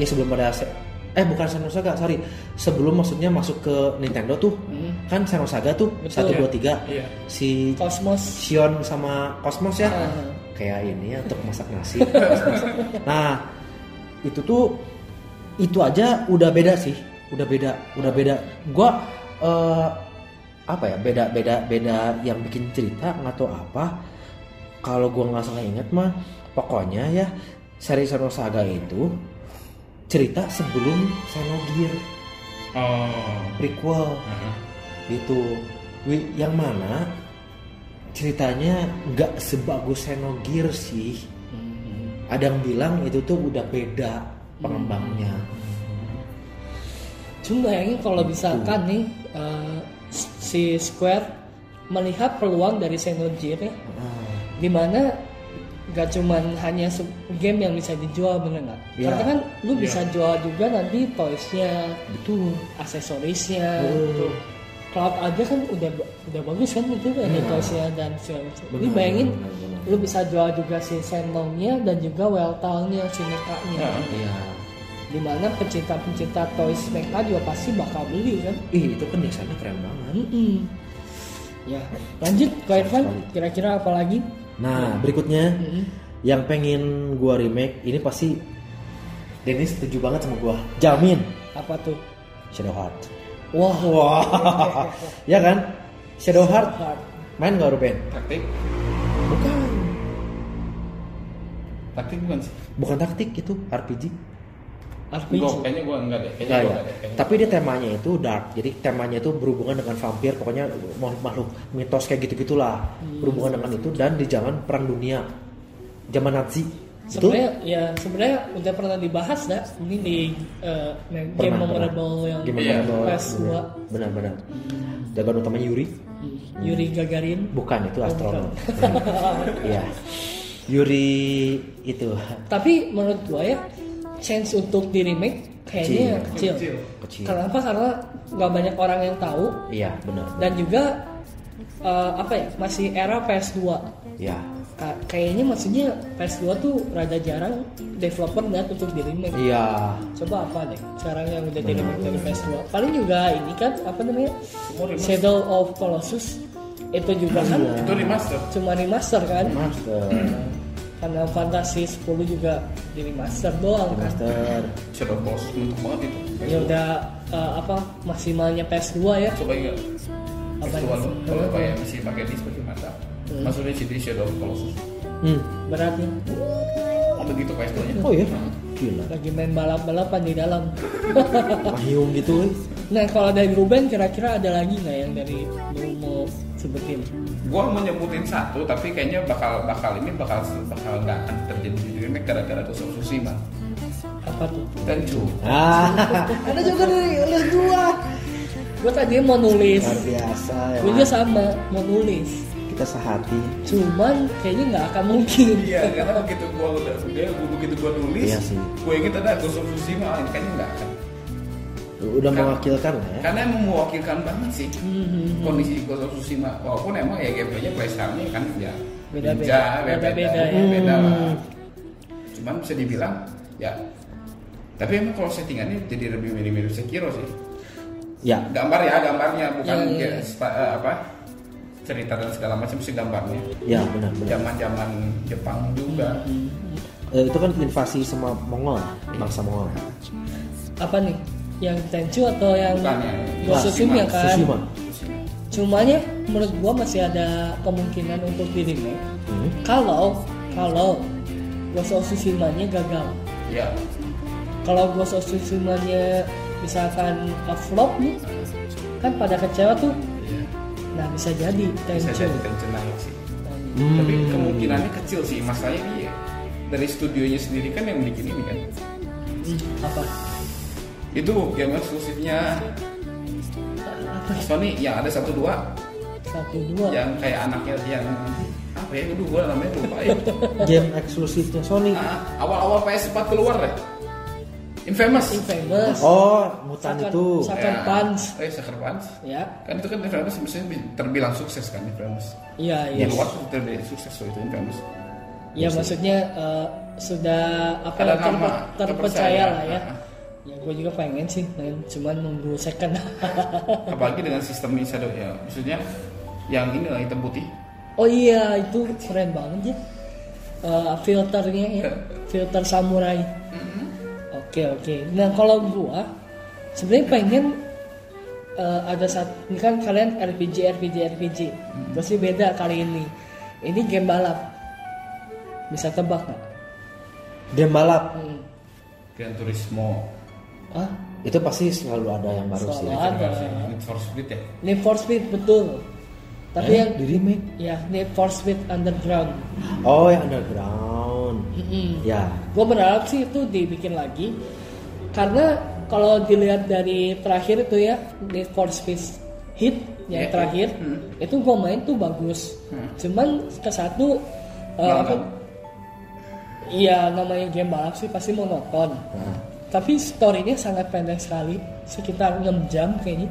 ya sebelum ada Se- eh bukan Seno Saga sorry sebelum maksudnya masuk ke Nintendo tuh Hmm. kan Seno Saga tuh satu dua tiga Iya. si Cosmos Sion sama Cosmos ya Heeh. kayak ini ya untuk masak nasi Cosmos. nah itu tuh itu aja udah beda sih udah beda udah beda gua eh, apa ya beda beda beda yang bikin cerita nggak tahu apa kalau gua nggak salah ingat mah pokoknya ya seri Seno Saga itu cerita sebelum Senogir oh prequel Heeh. gitu Wi- yang mana ceritanya nggak sebagus Senogir sih Hmm, ada yang bilang itu tuh udah beda pengembangnya cuma bayangin kalau Gitu. misalkan nih eh, si Square melihat peluang dari Xenogear ya Ah, dimana gak cuman hanya se- game yang bisa dijual bener nggak? Ya. Karena kan lu bisa jual juga nanti toysnya, betul aksesorisnya, Oh. gitu. cloud aja kan udah ba- udah bagus kan itu ada toysnya dan segala macam. Ini bayangin Ya. benar, benar. lu bisa jual juga si Senlong-nya dan juga Weltal-nya, si Mecha-nya. Heeh. iya dimana pencinta-pencinta toys mereka juga pasti bakal beli kan ih itu kan desainnya keren banget Mm-mm. ya lanjut Ko Irfan kira-kira apa lagi nah berikutnya yang pengen gua remake ini pasti Dennis setuju banget sama gua jamin apa tuh Shadow Heart wah wah ya kan Shadow Heart hard main nggak Ruben taktik bukan taktik bukan sih bukan taktik itu RPG RPG Gua kayaknya gua enggak deh kayaknya Nah, gua ya. enggak deh kayaknya. Tapi dia temanya itu dark. Jadi temanya itu berhubungan dengan vampir, pokoknya makhluk, makhluk mitos kayak gitu-gitulah. Hmm, Berhubungan dengan itu dan di zaman perang dunia. Zaman Nazi. Betul? sebenarnya ya sebenarnya udah pernah dibahas dah ini di eh, game Pernah, memorable yang Game Iya. memorable. ya. PS 2 Benar-benar. Jagoan utamanya Yuri? Hmm. Yuri Gagarin Bukan, itu astronaut. bukan. Iya. Yuri itu tapi menurut gua ya chance untuk di remake kayaknya Kecil. kecil, Kecil. Kecil. kenapa karena nggak banyak orang yang tahu iya benar. dan juga eh, apa ya masih era PS2 Iya. Ka- Eh, kayaknya maksudnya PS2 tuh rada jarang developer dan untuk di remake Iya. coba apa deh sekarang yang udah di remake dari PS2 paling juga ini kan apa namanya Shadow of Colossus itu juga kan itu remaster cuma remaster kan Master. karena Fantasy 10 juga di remaster doang kan Master. Shadow Boss mantap banget itu ya Iya, udah eh, apa maksimalnya PS2 ya coba ingat Apa Virtual itu? kalau apa ya masih pakai disk masih mantap maksudnya CD Shadow of Colossus Hmm. beratnya oh begitu PS2 nya Oh iya. Gila. lagi main balap-balapan di dalam Mahyung gitu. weh. Nah kalau dari Ruben kira-kira ada lagi nggak yang dari lu mau sebutin? gua mau nyebutin satu tapi kayaknya bakal bakal ini bakal bakal nggak akan terjadi di remake gara-gara Ghost of Tsushima Apa tuh? Tenchu Ah, ada juga dari list dua. Gue tadi mau nulis, biasa ya. gue juga sama mau nulis. kita sehati cuman kayaknya nggak akan mungkin Iya, karena begitu gua udah udah gua begitu gua nulis, Iya sih. gua inget ada Ghost of Tsushima, ini kayaknya nggak akan. udah Kan- mewakilkan lah ya Karena emang mewakilkan banget sih Mm-hmm. kondisi Ghost of Tsushima. Walaupun emang ya gameplaynya playstyle-nya kan ya Beda-beda. ninja, Beda-beda ya. beda lah. Cuman bisa dibilang ya tapi emang kalau settingannya jadi lebih mirip-mirip Sekiro sih. ya Gambar ya gambarnya bukan Iya, iya. ya, sta- eh, apa cerita dan segala macam sih gambarnya. ya benar benar Zaman-zaman Jepang juga. Mm-hmm. Eh, itu kan invasi sama Mongol bangsa Mongol apa nih yang Tenchu atau yang Bukan ya. Ghost of Tsushima Tsushima. kan Tsushima cuman ya menurut gua masih ada kemungkinan untuk di remake Hmm. kalau kalau Ghost of Tsushima-nya gagal Ya, kalau Ghost of Tsushima-nya misalkan flop nih kan pada kecewa tuh iya. nah bisa jadi bisa Tenchu jadi tension naik sih. Nah, Hmm. Tapi kemungkinannya kecil sih, masalahnya dia dari studionya sendiri kan yang bikin ini kan. hmm, apa Itu game eksklusifnya apa Sony yang ada satu dua satu dua yang kayak anaknya yang apa ya? Aduh, gua namanya lupa ya. game eksklusifnya Sony Ah, awal-awal PS4 keluar deh. Infamous. Ya. Infamous oh mutan Sakan- itu Sakan- Punch. Eh, Sucker Punch. ya Kan itu kan Infamous maksudnya terbilang sukses kan Infamous. iya Di iya luar terbilang sukses loh itu Infamous. ya maksudnya eh, sudah apa ya, Ada terpe- nama, terpercaya. terpercaya lah ya ya gue juga pengen sih main cuman nunggu second Apalagi dengan sistem ini shadow ya. Maksudnya yang ini lah hitam putih. oh iya itu keren banget ya Eh, filternya ya filter samurai Mm-hmm. oke oke nah kalau gua sebenarnya pengen eh, ada saat ini kan kalian RPG RPG RPG Mm-hmm. pasti beda kali ini ini game balap bisa tebak nggak game balap Hmm. Gran Turismo. ah itu pasti selalu ada yang baru sih ya. Selalu Eh, ada. Need for Speed ya. Need for Speed betul tapi Eh, yang di remake Ya, Need for Speed Underground. oh yang underground Mm-mm. ya Gue berharap sih itu dibikin lagi. Karena kalau dilihat dari terakhir itu ya, Need for Speed Hit yang Ya. terakhir, Hmm. itu gue main tuh bagus. Hmm. Cuman ke satu, eh, Nonton. apa? Iya namanya game balap sih pasti monoton. Nah, Tapi story-nya sangat pendek sekali, sekitar 6 jam kayaknya.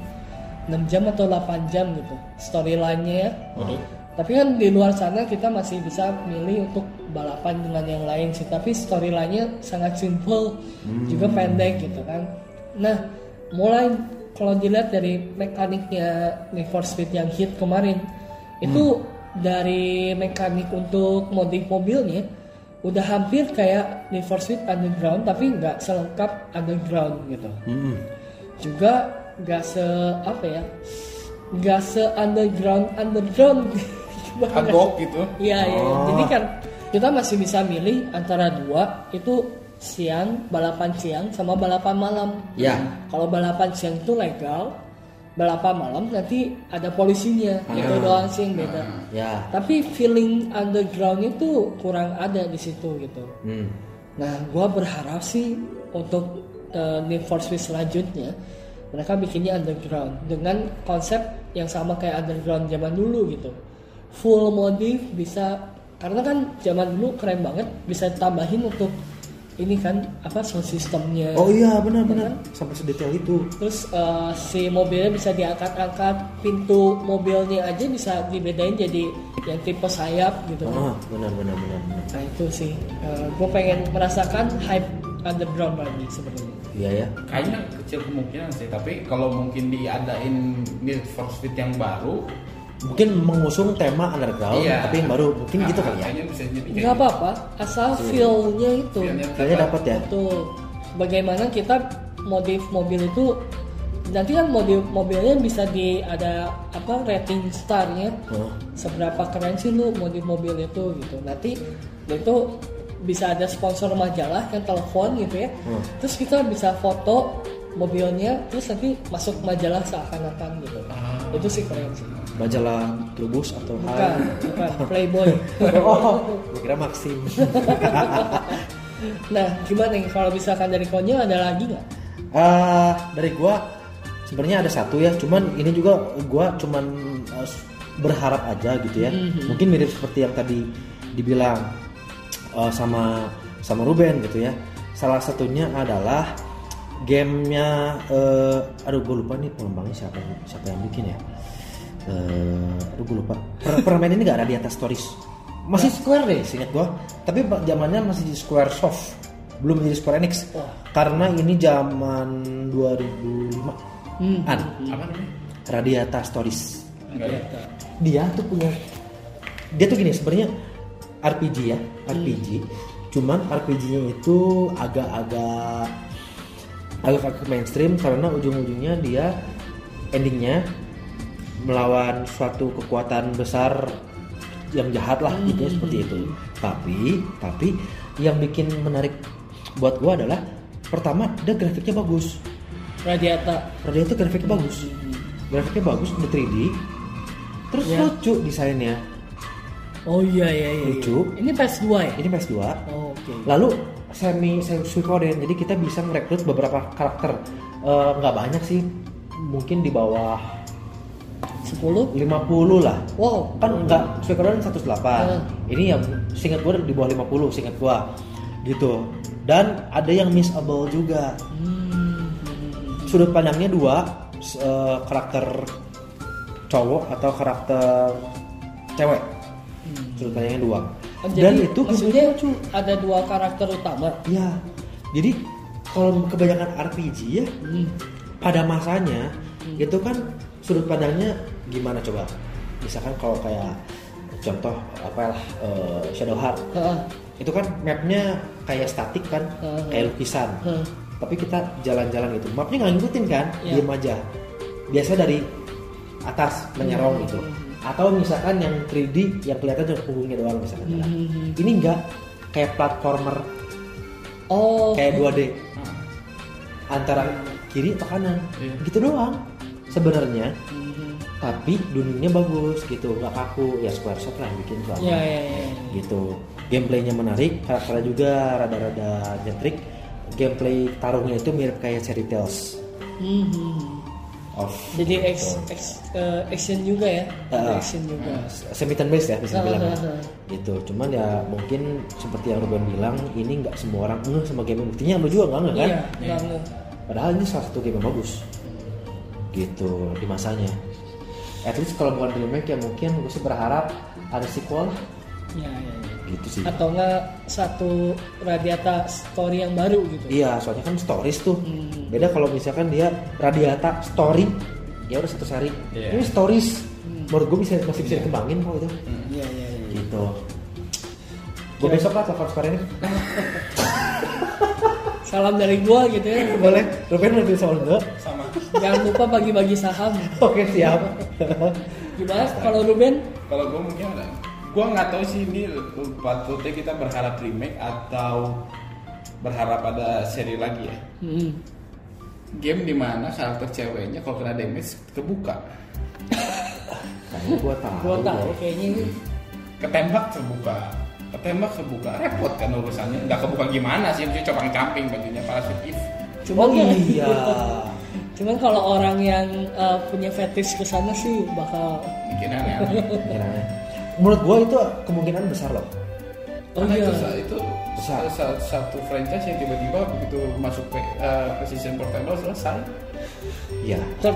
6 jam atau 8 jam gitu. Storyline-nya ya. Tapi kan di luar sana kita masih bisa milih untuk balapan dengan yang lain sih. Tapi storyline-nya sangat simple, juga pendek gitu kan. Nah, mulai kalau dilihat dari mekaniknya Need for Speed yang hit kemarin, itu dari mekanik untuk modding mobilnya udah hampir kayak Need for Speed Underground tapi nggak selengkap Underground gitu mm-mm. juga nggak se apa ya nggak se underground underground Gimana? Agok gitu. Iya, iya. Oh. Jadi kan kita masih bisa milih antara dua itu siang balapan siang sama balapan malam. Ya. Kalau balapan siang itu legal, balapan malam nanti ada polisinya. Itu doang sih yang beda. ya Tapi feeling underground itu kurang ada di situ gitu. Hmm. Nah, gua berharap sih untuk uh, Need for Speed selanjutnya mereka bikinnya underground dengan konsep yang sama kayak underground zaman dulu gitu. Full modif bisa karena kan zaman dulu keren banget bisa tambahin untuk ini kan apa sound systemnya. oh iya benar-benar sampai sedetail itu Terus eh, si mobilnya bisa diangkat-angkat, pintu mobilnya aja bisa dibedain jadi yang tipe sayap gitu. ah benar-benar benar-benar Nah itu sih, gue pengen merasakan hype underground lagi sebenarnya. iya ya Kayaknya kecil kemungkinan sih, tapi kalau mungkin diadain Need for Speed yang baru, mungkin mengusung tema underground Iya. tapi yang baru mungkin gitu kali ya Kayaknya bisa jadi gitu. Nggak apa-apa, asal feel-nya itu. kayaknya dapat ya Betul. Bagaimana kita modif mobil itu nanti kan modif mobilnya bisa di ada apa rating starnya Oh. seberapa keren sih lu modif mobil itu gitu nanti itu bisa ada sponsor majalah yang telepon gitu ya Hmm. terus kita bisa foto mobilnya terus nanti masuk majalah seakan-akan gitu itu sih keren sih majalah Trubus atau bukan hal bukan playboy oh gua kira Maxim nah gimana nih kalau misalkan dari konyol ada lagi nggak Ah, dari gua sebenarnya ada satu ya cuman ini juga gua cuman eh, berharap aja gitu ya mungkin mirip seperti yang tadi dibilang eh, sama sama Ruben gitu ya salah satunya adalah gamenya eh aduh gue lupa nih pengembangnya siapa siapa yang bikin ya eh aduh gue lupa Per- permain ini gak ada di atas stories masih Square deh seingat gue tapi ba- zamannya masih di Square Soft belum menjadi Square Enix karena ini zaman Hmm, 2005 an Apa namanya? Radiata Stories Enggak ya? dia tuh punya dia tuh gini sebenarnya RPG ya RPG cuman RPG-nya itu agak-agak agak-agak mainstream karena ujung-ujungnya dia endingnya melawan suatu kekuatan besar yang jahat lah gitu ya, seperti itu tapi tapi yang bikin menarik buat gua adalah pertama dia grafiknya bagus Radiata Rodia itu grafiknya bagus grafiknya bagus udah 3D terus lucu desainnya oh iya iya iya lucu Iya. ini PS2 ya ini PS2 oh, oke lalu semi semi Suikoden jadi kita bisa merekrut beberapa karakter Eh, nggak banyak sih mungkin di bawah 10 50 lah wow kan nggak Suikoden 108 Hmm. ini yang singkat gua di bawah 50 singkat gua gitu dan ada yang missable juga Hmm, sudut pandangnya dua s- eh, karakter cowok atau karakter cewek sudut pandangnya dua dan Hmm. Oh, Jadi, itu maksudnya ada dua karakter utama ya jadi kalau kebanyakan RPG ya pada masanya Hmm. itu kan sudut pandangnya gimana coba misalkan kalau kayak contoh apa lah eh, Shadow Heart Heeh. itu kan mapnya kayak statik kan Hmm. kayak lukisan Heeh. tapi kita jalan-jalan gitu mapnya nggak ngikutin kan Iya. diem aja biasa dari atas Hmm. menyerong gitu atau misalkan yang 3D yang kelihatan cuma punggungnya doang misalkan jalan. Hmm. ini enggak kayak platformer oh kayak 2D antara kiri atau kanan Iya. gitu doang sebenarnya tapi dunianya bagus gitu nggak kaku ya Squaresoft lah yang bikin soalnya ya ya ya gitu gameplaynya menarik karakternya juga rada-rada nyentrik gameplay tarungnya itu mirip kayak Fairy Tales Mhm. of jadi ex, ex, eh, action juga ya Ada Ah. action juga semi turn based ya bisa Ah, bilang ah, ah. gitu cuman ya mungkin seperti yang Ruben bilang ini nggak semua orang ngeh sama game ini. buktinya lu juga nggak ngeh kan iya banget padahal ini salah satu game yang bagus gitu di masanya at least kalau bukan remake ya mungkin gue sih berharap ada sequel lah. ya ya, ya. gitu sih atau enggak satu radiata story yang baru gitu Iya, soalnya kan stories tuh. Beda kalau misalkan dia radiata story, dia udah satu seri. Iya. Ini stories. Menurut gue bisa masih bisa dikembangin kok itu. iya iya iya Gitu. Ya. Gue besok lah telepon Square ini. salam dari gua gitu ya Boleh. Ruben udah bisa enggak? Sama. jangan lupa bagi-bagi saham Oke, siap. gimana kalau Ruben Kalau gue mungkin ada. Gue nggak tahu sih ini patutnya kita berharap remake atau berharap ada seri lagi ya. Hmm. Mhm. Game dimana karakter ceweknya kalau kena damage kebuka, Kayaknya gue tahu. gua tahu kayaknya ini ketembak kebuka, ketembak kebuka. Repot kan urusannya. Nggak kebuka gimana sih? Mesti copang camping bajunya parasitif. cuma Oh iya. Cuman kalau orang yang uh, punya fetish ke sana sih bakal Bikin aneh-aneh. Kira-kira. Menurut gue itu kemungkinan besar loh. oh Karena iya itu, sa- itu Besar. sa- sa- satu franchise yang tiba-tiba begitu masuk ke, ke season pertama selesai. Iya. third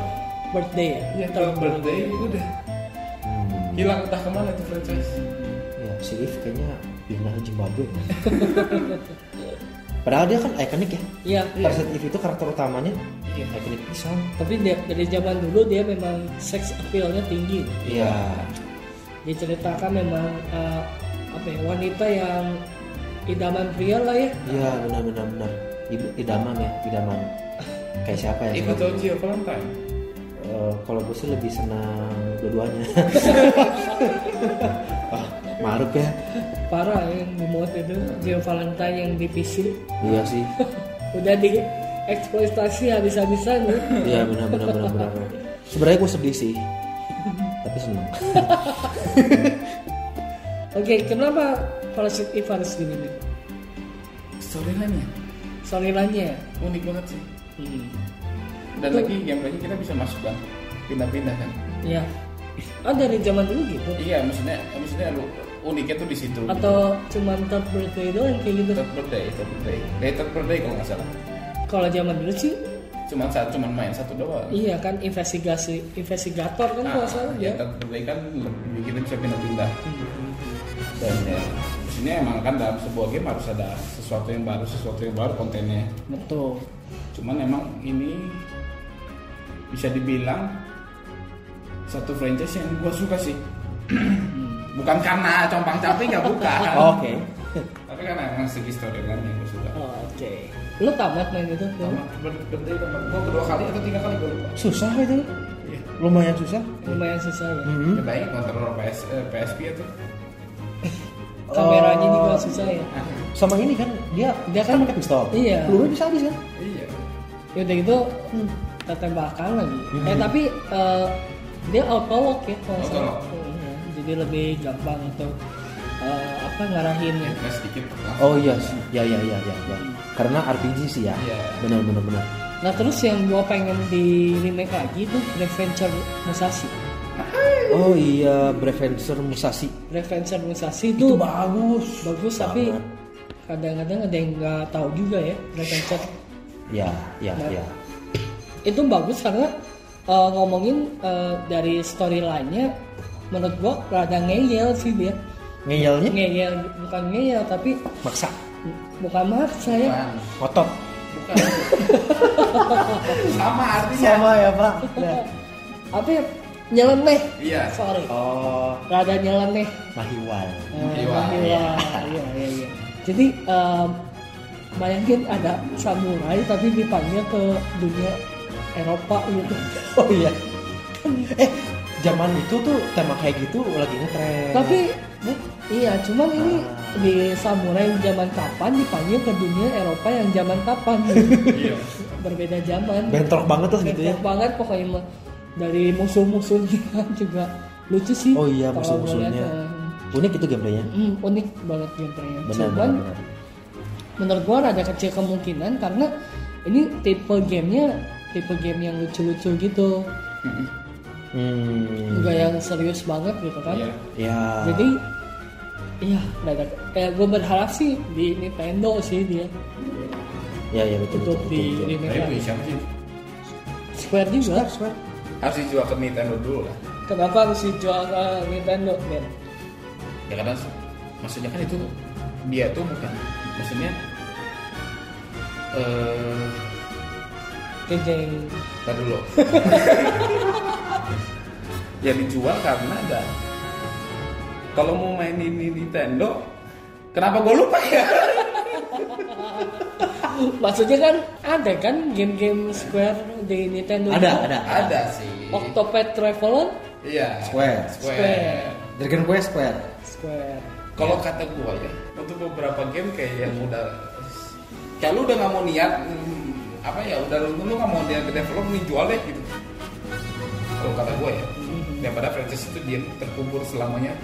birthday ya Ya kalau birthday udah Hmm. hilang entah kemana itu franchise. Ya, si If kayaknya pindah ke Zimbabwe. Padahal dia kan ikonik ya. iya Parasite Eve itu karakter utamanya Iya. ikonik pisang. tapi dia, dari zaman dulu dia memang sex appeal-nya tinggi Iya. diceritakan memang uh, apa ya wanita yang idaman pria lah ya Iya, benar benar benar. Ibu idaman ya, idaman. Kayak siapa Iya, ya? Ikut OG Valentine. Eh, kalau gue sih lebih senang dua-duanya. ah, maruk ya. parah yang dimuat itu Gio Valentine yang di PC Iya sih. udah di eksploitasi habis-habisan ya. Iya benar benar benar benar. Sebenarnya gue sedih sih. Tapi senang. oke kenapa Parasite Eve harus gini nih Storyline-nya storyline-nya unik banget sih. hmm. Dan lagi gameplaynya kita bisa masuk kan, pindah-pindah kan. ya Oh dari zaman dulu gitu? Iya, maksudnya maksudnya lu- uniknya tuh di situ. Atau cuman third birthday doang kayak gitu? Third birthday, third birthday. Day third birthday kalau nggak salah. Kalau zaman dulu sih Cuman saat cuman main satu doang. iya kan investigasi investigator kan kalau salah ya. ya third birthday kan lebih kita bisa pindah-pindah. Dan ya di sini emang kan dalam sebuah game harus ada sesuatu yang baru, sesuatu yang baru kontennya. Betul. Cuman emang ini bisa dibilang satu franchise yang gue suka sih. bukan karena compang camping ya bukan. Oke. Tapi karena emang segi storyline yang gue suka. Oh, Oke. Lu tamat main itu? Bro? Pertama, ber- berhenti pertama. kan, Gua kedua kali atau tiga kali gue lupa. Susah itu. Iya. Lumayan susah. Lumayan susah ya. Mhm. Kebayang kontrol PS, eh, PSP itu. Kameranya Oh. juga susah ya. Eh, Sama ini kan dia Dia kan- pakai pistol. Iya. Peluru bisa habis kan? Iya. Ya udah gitu kita tembakan lagi. Eh tapi eh, dia autolog ya kalau Auto salah. lock. Iya, Jadi lebih gampang untuk eh, apa ngarahin Ya, kita sedikit. langsung. Oh iya, sih. ya ya ya ya. ya. Karena RPG sih ya. Iya. Benar benar benar. Nah terus yang gua pengen di remake lagi tuh Revenger Musashi. Oh iya, Brevenser Musashi. Revenger Musashi itu Itu bagus. bagus tapi banget. kadang-kadang ada yang nggak tahu juga ya Revenger. Ya, ya, ya. Itu bagus karena eh, ngomongin eh, dari storyline-nya menurut gua rada ngeyel sih dia. Ngeyelnya Ngeyel bukan ngeyel tapi maksa, bukan maksa ya. Bukan. otot. Bukan. Sama artinya. Sama ya, Pak. Ya. Apa ya? Nyeleneh. Iya. Sorry. Oh, Rada nyeleneh. mahiwal. Eh, Iya. iya, iya, iya, iya. Jadi em, bayangin ada samurai tapi dipanggil ke dunia Eropa gitu. Oh iya. Eh, zaman itu tuh tema kayak gitu lagi ngetren. Tapi bu- iya, cuman ini Ah. di samurai zaman kapan dipanggil ke dunia Eropa yang zaman kapan? Iya. Berbeda zaman. bentrok banget lah gitu ya. Bentrok banget pokoknya mah. dari musuh-musuhnya juga lucu sih. Oh iya, kalau gua lihat, musuh-musuhnya. eh. Unik itu gameplaynya. Hmm, unik banget gameplaynya. Benar, Cuman benar, benar. menurut gua rada kecil kemungkinan karena ini tipe gamenya tipe game yang lucu-lucu gitu Hmm. juga yang serius banget gitu kan Iya. Ya. jadi iya rada eh, gue berharap sih di Nintendo sih dia ya, ya betul betul. untuk betul, di betul. Tapi remake bisa sih. Square juga Harus dijual ke Nintendo dulu lah. kenapa harus dijual ke Nintendo Ben? ya karena se- maksudnya kan itu dia tuh bukan maksudnya eh Kejeng tar dulu ya dijual karena ada kalau mau mainin di Nintendo kenapa gue lupa ya maksudnya kan ada kan game-game Square di Nintendo Ada, juga? ada. ada sih Octopath Traveler iya Square. Square. Square. Dragon Quest Square. Square kalau kata gue ya untuk beberapa game kayak yang udah kayak lu udah nggak mau niat hmm, apa ya udah lu lu nggak mau niat ke develop nih jual deh gitu kalau kata gue ya daripada franchise itu dia terkubur selamanya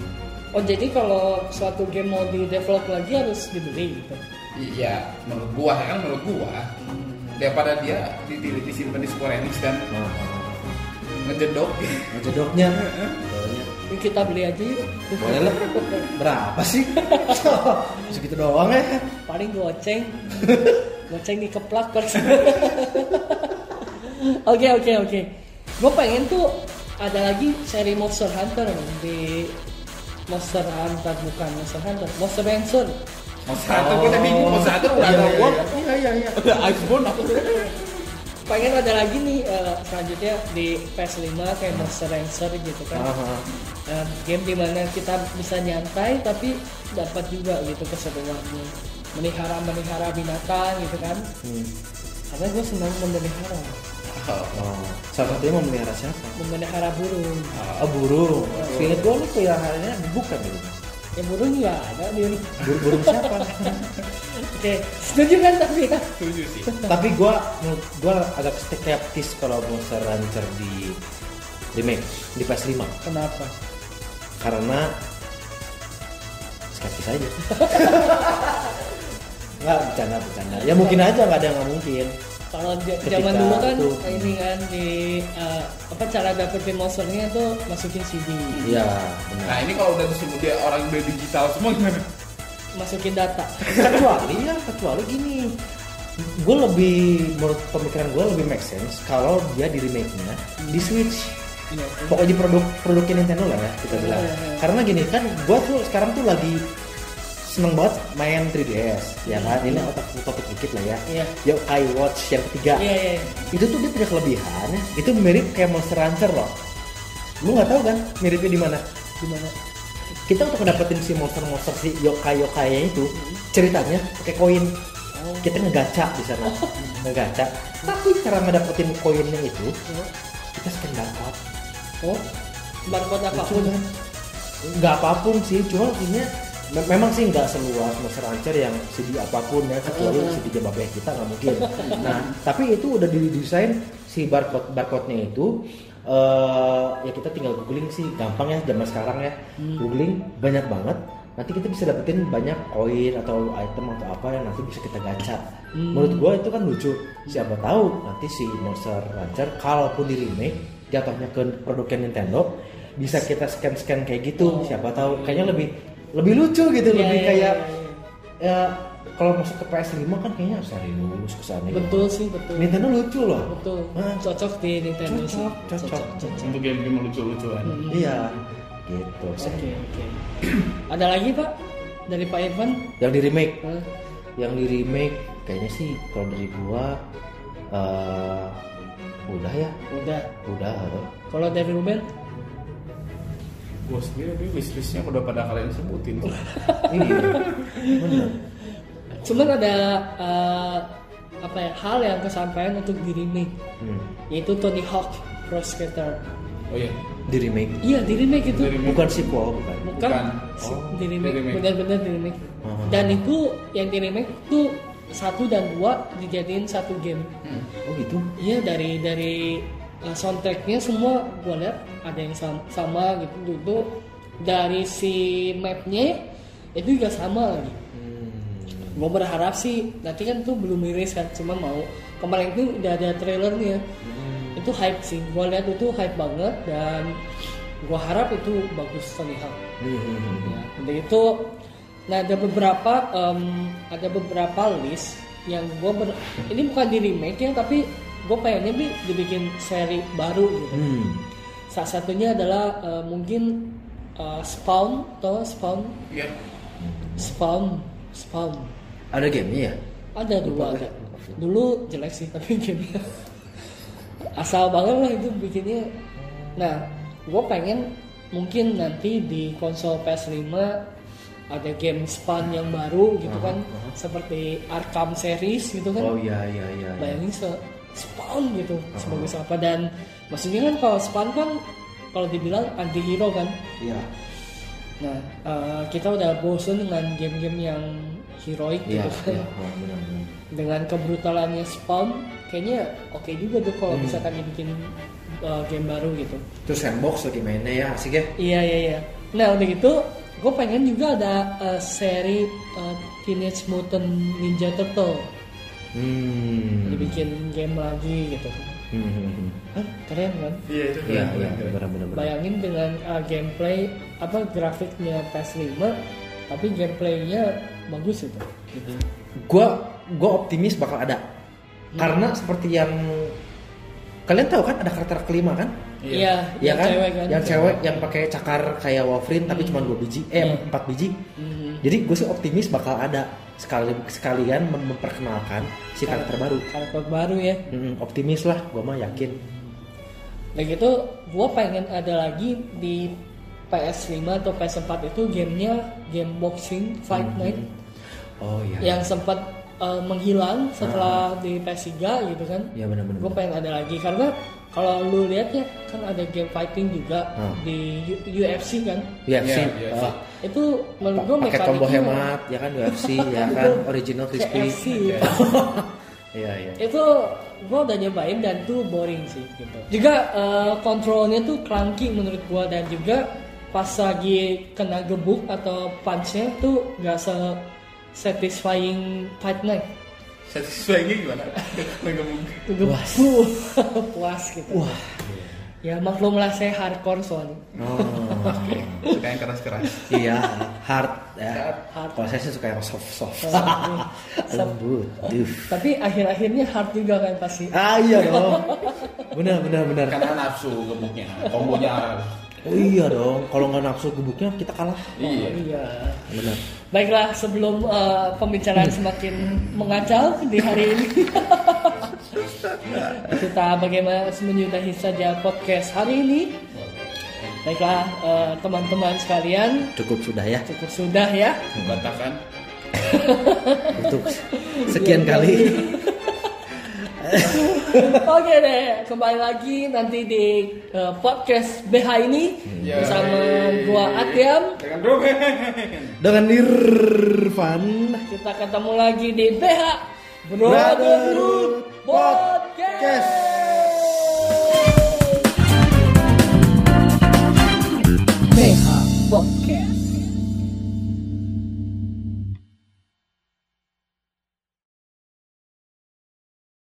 Oh jadi kalau suatu game mau di develop lagi harus dibeli gitu. iya menurut gua ya kan menurut gua daripada dia ditilik disimpan di Square Enix dan Nah, ngejedok jedoknya. Ini kita beli aja yuk. Boleh lah. Berapa sih? Segitu doang ya. Paling goceng. goceng dikeplak per. Oke oke oke. Gue pengen tuh ada lagi seri Monster Hunter nih, di Monster Hunter bukan Monster Hunter, Monster Rancher. mau satu gua tadi bingung mau satu udah ada gua Oh. Iya, iya, iya. udah iPhone aku Pengen ada lagi nih eh, selanjutnya di PS5 kayak Monster Rancher gitu kan. Aha. Nah, game dimana kita bisa nyantai tapi dapat juga gitu keseruannya melihara melihara binatang gitu kan Hmm. karena gue senang memelihara Oh, salah satunya memelihara siapa? memelihara burung Oh, burung. Feeling gue nih peliharaannya bukan gitu. ya burung nggak ada Bin. Burung, burung siapa? oke setuju kan tapi kan setuju sih Tapi gue menurut gue agak skeptis kalau Monster Rancher di remake di PS5 kenapa karena skeptis aja. Nggak bercanda bercanda. Ya mungkin aja nggak ada yang nggak mungkin. kalau j- Ketika zaman dulu kan tuh. ini kan di eh, apa cara dapetin monsternya tuh masukin CD Iya, benar. Nah ini kalau udah disebut dia orang udah digital semua gimana? masukin data kecuali ya kecuali gini gue lebih menurut pemikiran gue lebih make sense kalau dia di remake nya di switch Iya, pokoknya di produk produknya Nintendo lah ya kita bilang Iya, iya. karena gini kan gue tuh sekarang tuh lagi seneng banget main 3DS ya kan ini otak topik dikit lah ya Iya. Yo I Watch yang ketiga iya iya iya. itu tuh dia punya kelebihan itu mirip kayak Monster Hunter loh lu nggak tahu kan miripnya di mana gimana kita untuk dapetin si monster-monster si yokai yokainya itu Hmm. ceritanya pakai koin Oh. kita ngegaca di sana ngegaca tapi cara ngedapetin koinnya itu kita scan barcode oh barcode apapun Lucu, kan? nggak apapun sih cuma intinya me- memang sih nggak seluas Monster Hunter yang CD apapun ya kecuali CD jebabnya kita nggak mungkin nah tapi itu udah didesain si barcode barcode-nya itu eh ya kita tinggal googling sih gampang ya zaman sekarang ya googling banyak banget nanti kita bisa dapetin banyak koin atau item atau apa yang nanti bisa kita gacha menurut gua itu kan lucu siapa tahu nanti si Monster Hunter kalaupun di remake jatuhnya ke produknya Nintendo bisa kita scan scan kayak gitu siapa tahu kayaknya lebih lebih lucu gitu Iya, lebih iya, kayak iya, ya kalau masuk ke PS5 kan kayaknya serius kesannya betul sih betul Nintendo lucu loh betul Hah? cocok di Nintendo sih Cocok, cocok. Untuk game-game lucu-lucuan. iya gitu sih. oke oke ada lagi pak dari Pak Irfan yang di remake Hah? yang di remake kayaknya sih kalau dari gua eh, udah ya udah udah kalau dari Ruben Gue sendiri tapi wishlistnya udah pada kalian sebutin tuh. ini bener cuman ada eh, apa ya hal yang kesampaian untuk di remake hmm. yaitu Tony Hawk Pro Skater Oh iya. di remake iya di remake itu Dari- bukan sequel bukan bukan Bukan. si- Oh, di remake, di remake. benar-benar di remake Oh. dan itu yang di remake itu satu dan dua dijadiin satu game oh gitu iya dari dari uh, soundtracknya semua gue lihat ada yang sama, sama gitu itu dari si mapnya itu juga sama lagi Hmm. gue berharap sih nanti kan tuh belum rilis kan cuma mau kemarin tuh udah ada trailernya itu hype sih gue lihat itu hype banget dan gue harap itu bagus Tony Hawk Hmm. Ya, untuk itu nah ada beberapa em, ada beberapa list yang gue ber ini bukan di remake ya tapi gue pengennya Bi, dibikin seri baru gitu Hmm. salah satunya adalah eh, mungkin eh, spawn atau spawn Iya. spawn spawn ada gamenya ya ada dulu Lupa ada. Dulu jelek sih tapi gamenya asal banget lah itu bikinnya. Nah, gue pengen mungkin nanti di konsol PS5 ada game Spawn yang baru gitu kan, seperti Arkham series gitu kan. Oh iya iya iya. iya. Bayangin se Spawn gitu, sebagus apa dan maksudnya kan kalau Spawn kan kalau dibilang anti hero kan. Iya. Nah, eh, kita udah bosen dengan game-game yang heroik Iya. gitu kan iya, oh, benar benar. dengan kebrutalannya Spawn kayaknya oke juga tuh Hmm. kalau misalkan dibikin uh, game baru gitu Terus sandbox lagi mainnya ya asik ya. iya iya iya nah udah gitu gue pengen juga ada uh, seri uh, Teenage Mutant Ninja Turtle Hmm. dibikin game lagi gitu Hmm, hmm, hmm. Hah, keren kan Iya itu. Iya iya benar benar benar. bayangin dengan uh, gameplay apa grafiknya PS5 tapi gameplaynya bagus itu gitu. Gua gua optimis bakal ada. Hmm. Karena seperti yang kalian tahu kan ada karakter kelima kan? iya Iya yang kan? cewek kan Yang cewek yang pakai cakar kayak Wolverine tapi cuma dua biji, eh Iya. empat biji. Mhm. Jadi gue sih optimis bakal ada sekali sekalian mem- memperkenalkan si karakter baru. karakter baru ya Hmm, optimis lah, gue mah yakin. Dan gitu, gue pengen ada lagi di PS5 atau PS4 itu gamenya game boxing Fight Hmm. Night Oh iya. yang sempat eh, menghilang setelah di PS3 gitu kan. Ah. Iya benar-benar. Gue pengen ada lagi karena kalau lu lihat ya kan ada game fighting juga Hmm. di U- UFC kan. UFC. Iya, UFC. ah, Itu menurut gue pakai tombol hemat, ya kan UFC, ya kan original crispy. UFC. Iya iya. itu gue udah nyobain dan tuh boring sih gitu juga eh, kontrolnya tuh clunky menurut gue dan juga pas lagi kena gebuk atau punchnya tuh gak se satisfying fight night satisfyingnya gimana? Ngegemuk. puas puas gitu Wah. ya maklumlah saya hardcore soalnya Oh, Suka yang keras-keras. iya, hard ya. Hard. Kalau saya sih suka yang soft soft. Soft. Lembut. Duh. tapi akhir-akhirnya hard juga kan pasti Ah iya dong. Benar benar benar. Karena nafsu gemuknya, kombonya. Oh iya dong. Kalau nggak nafsu gebuknya kita kalah. Iya. iya Benar. Baiklah, sebelum eh, pembicaraan semakin mengacau di hari ini, kita bagaimana menyudahi saja podcast hari ini. Baiklah, eh, teman-teman sekalian, Cukup sudah ya. cukup sudah ya. Oh. Katakan Untuk sekian kali. Oke deh, kembali lagi nanti di eh, podcast BH ini Yeay. bersama gua Atiam. dengan Ruben. Dengan Irfan. Kita ketemu lagi di BH Brotherhood Brotherhood Podcast. BH Podcast.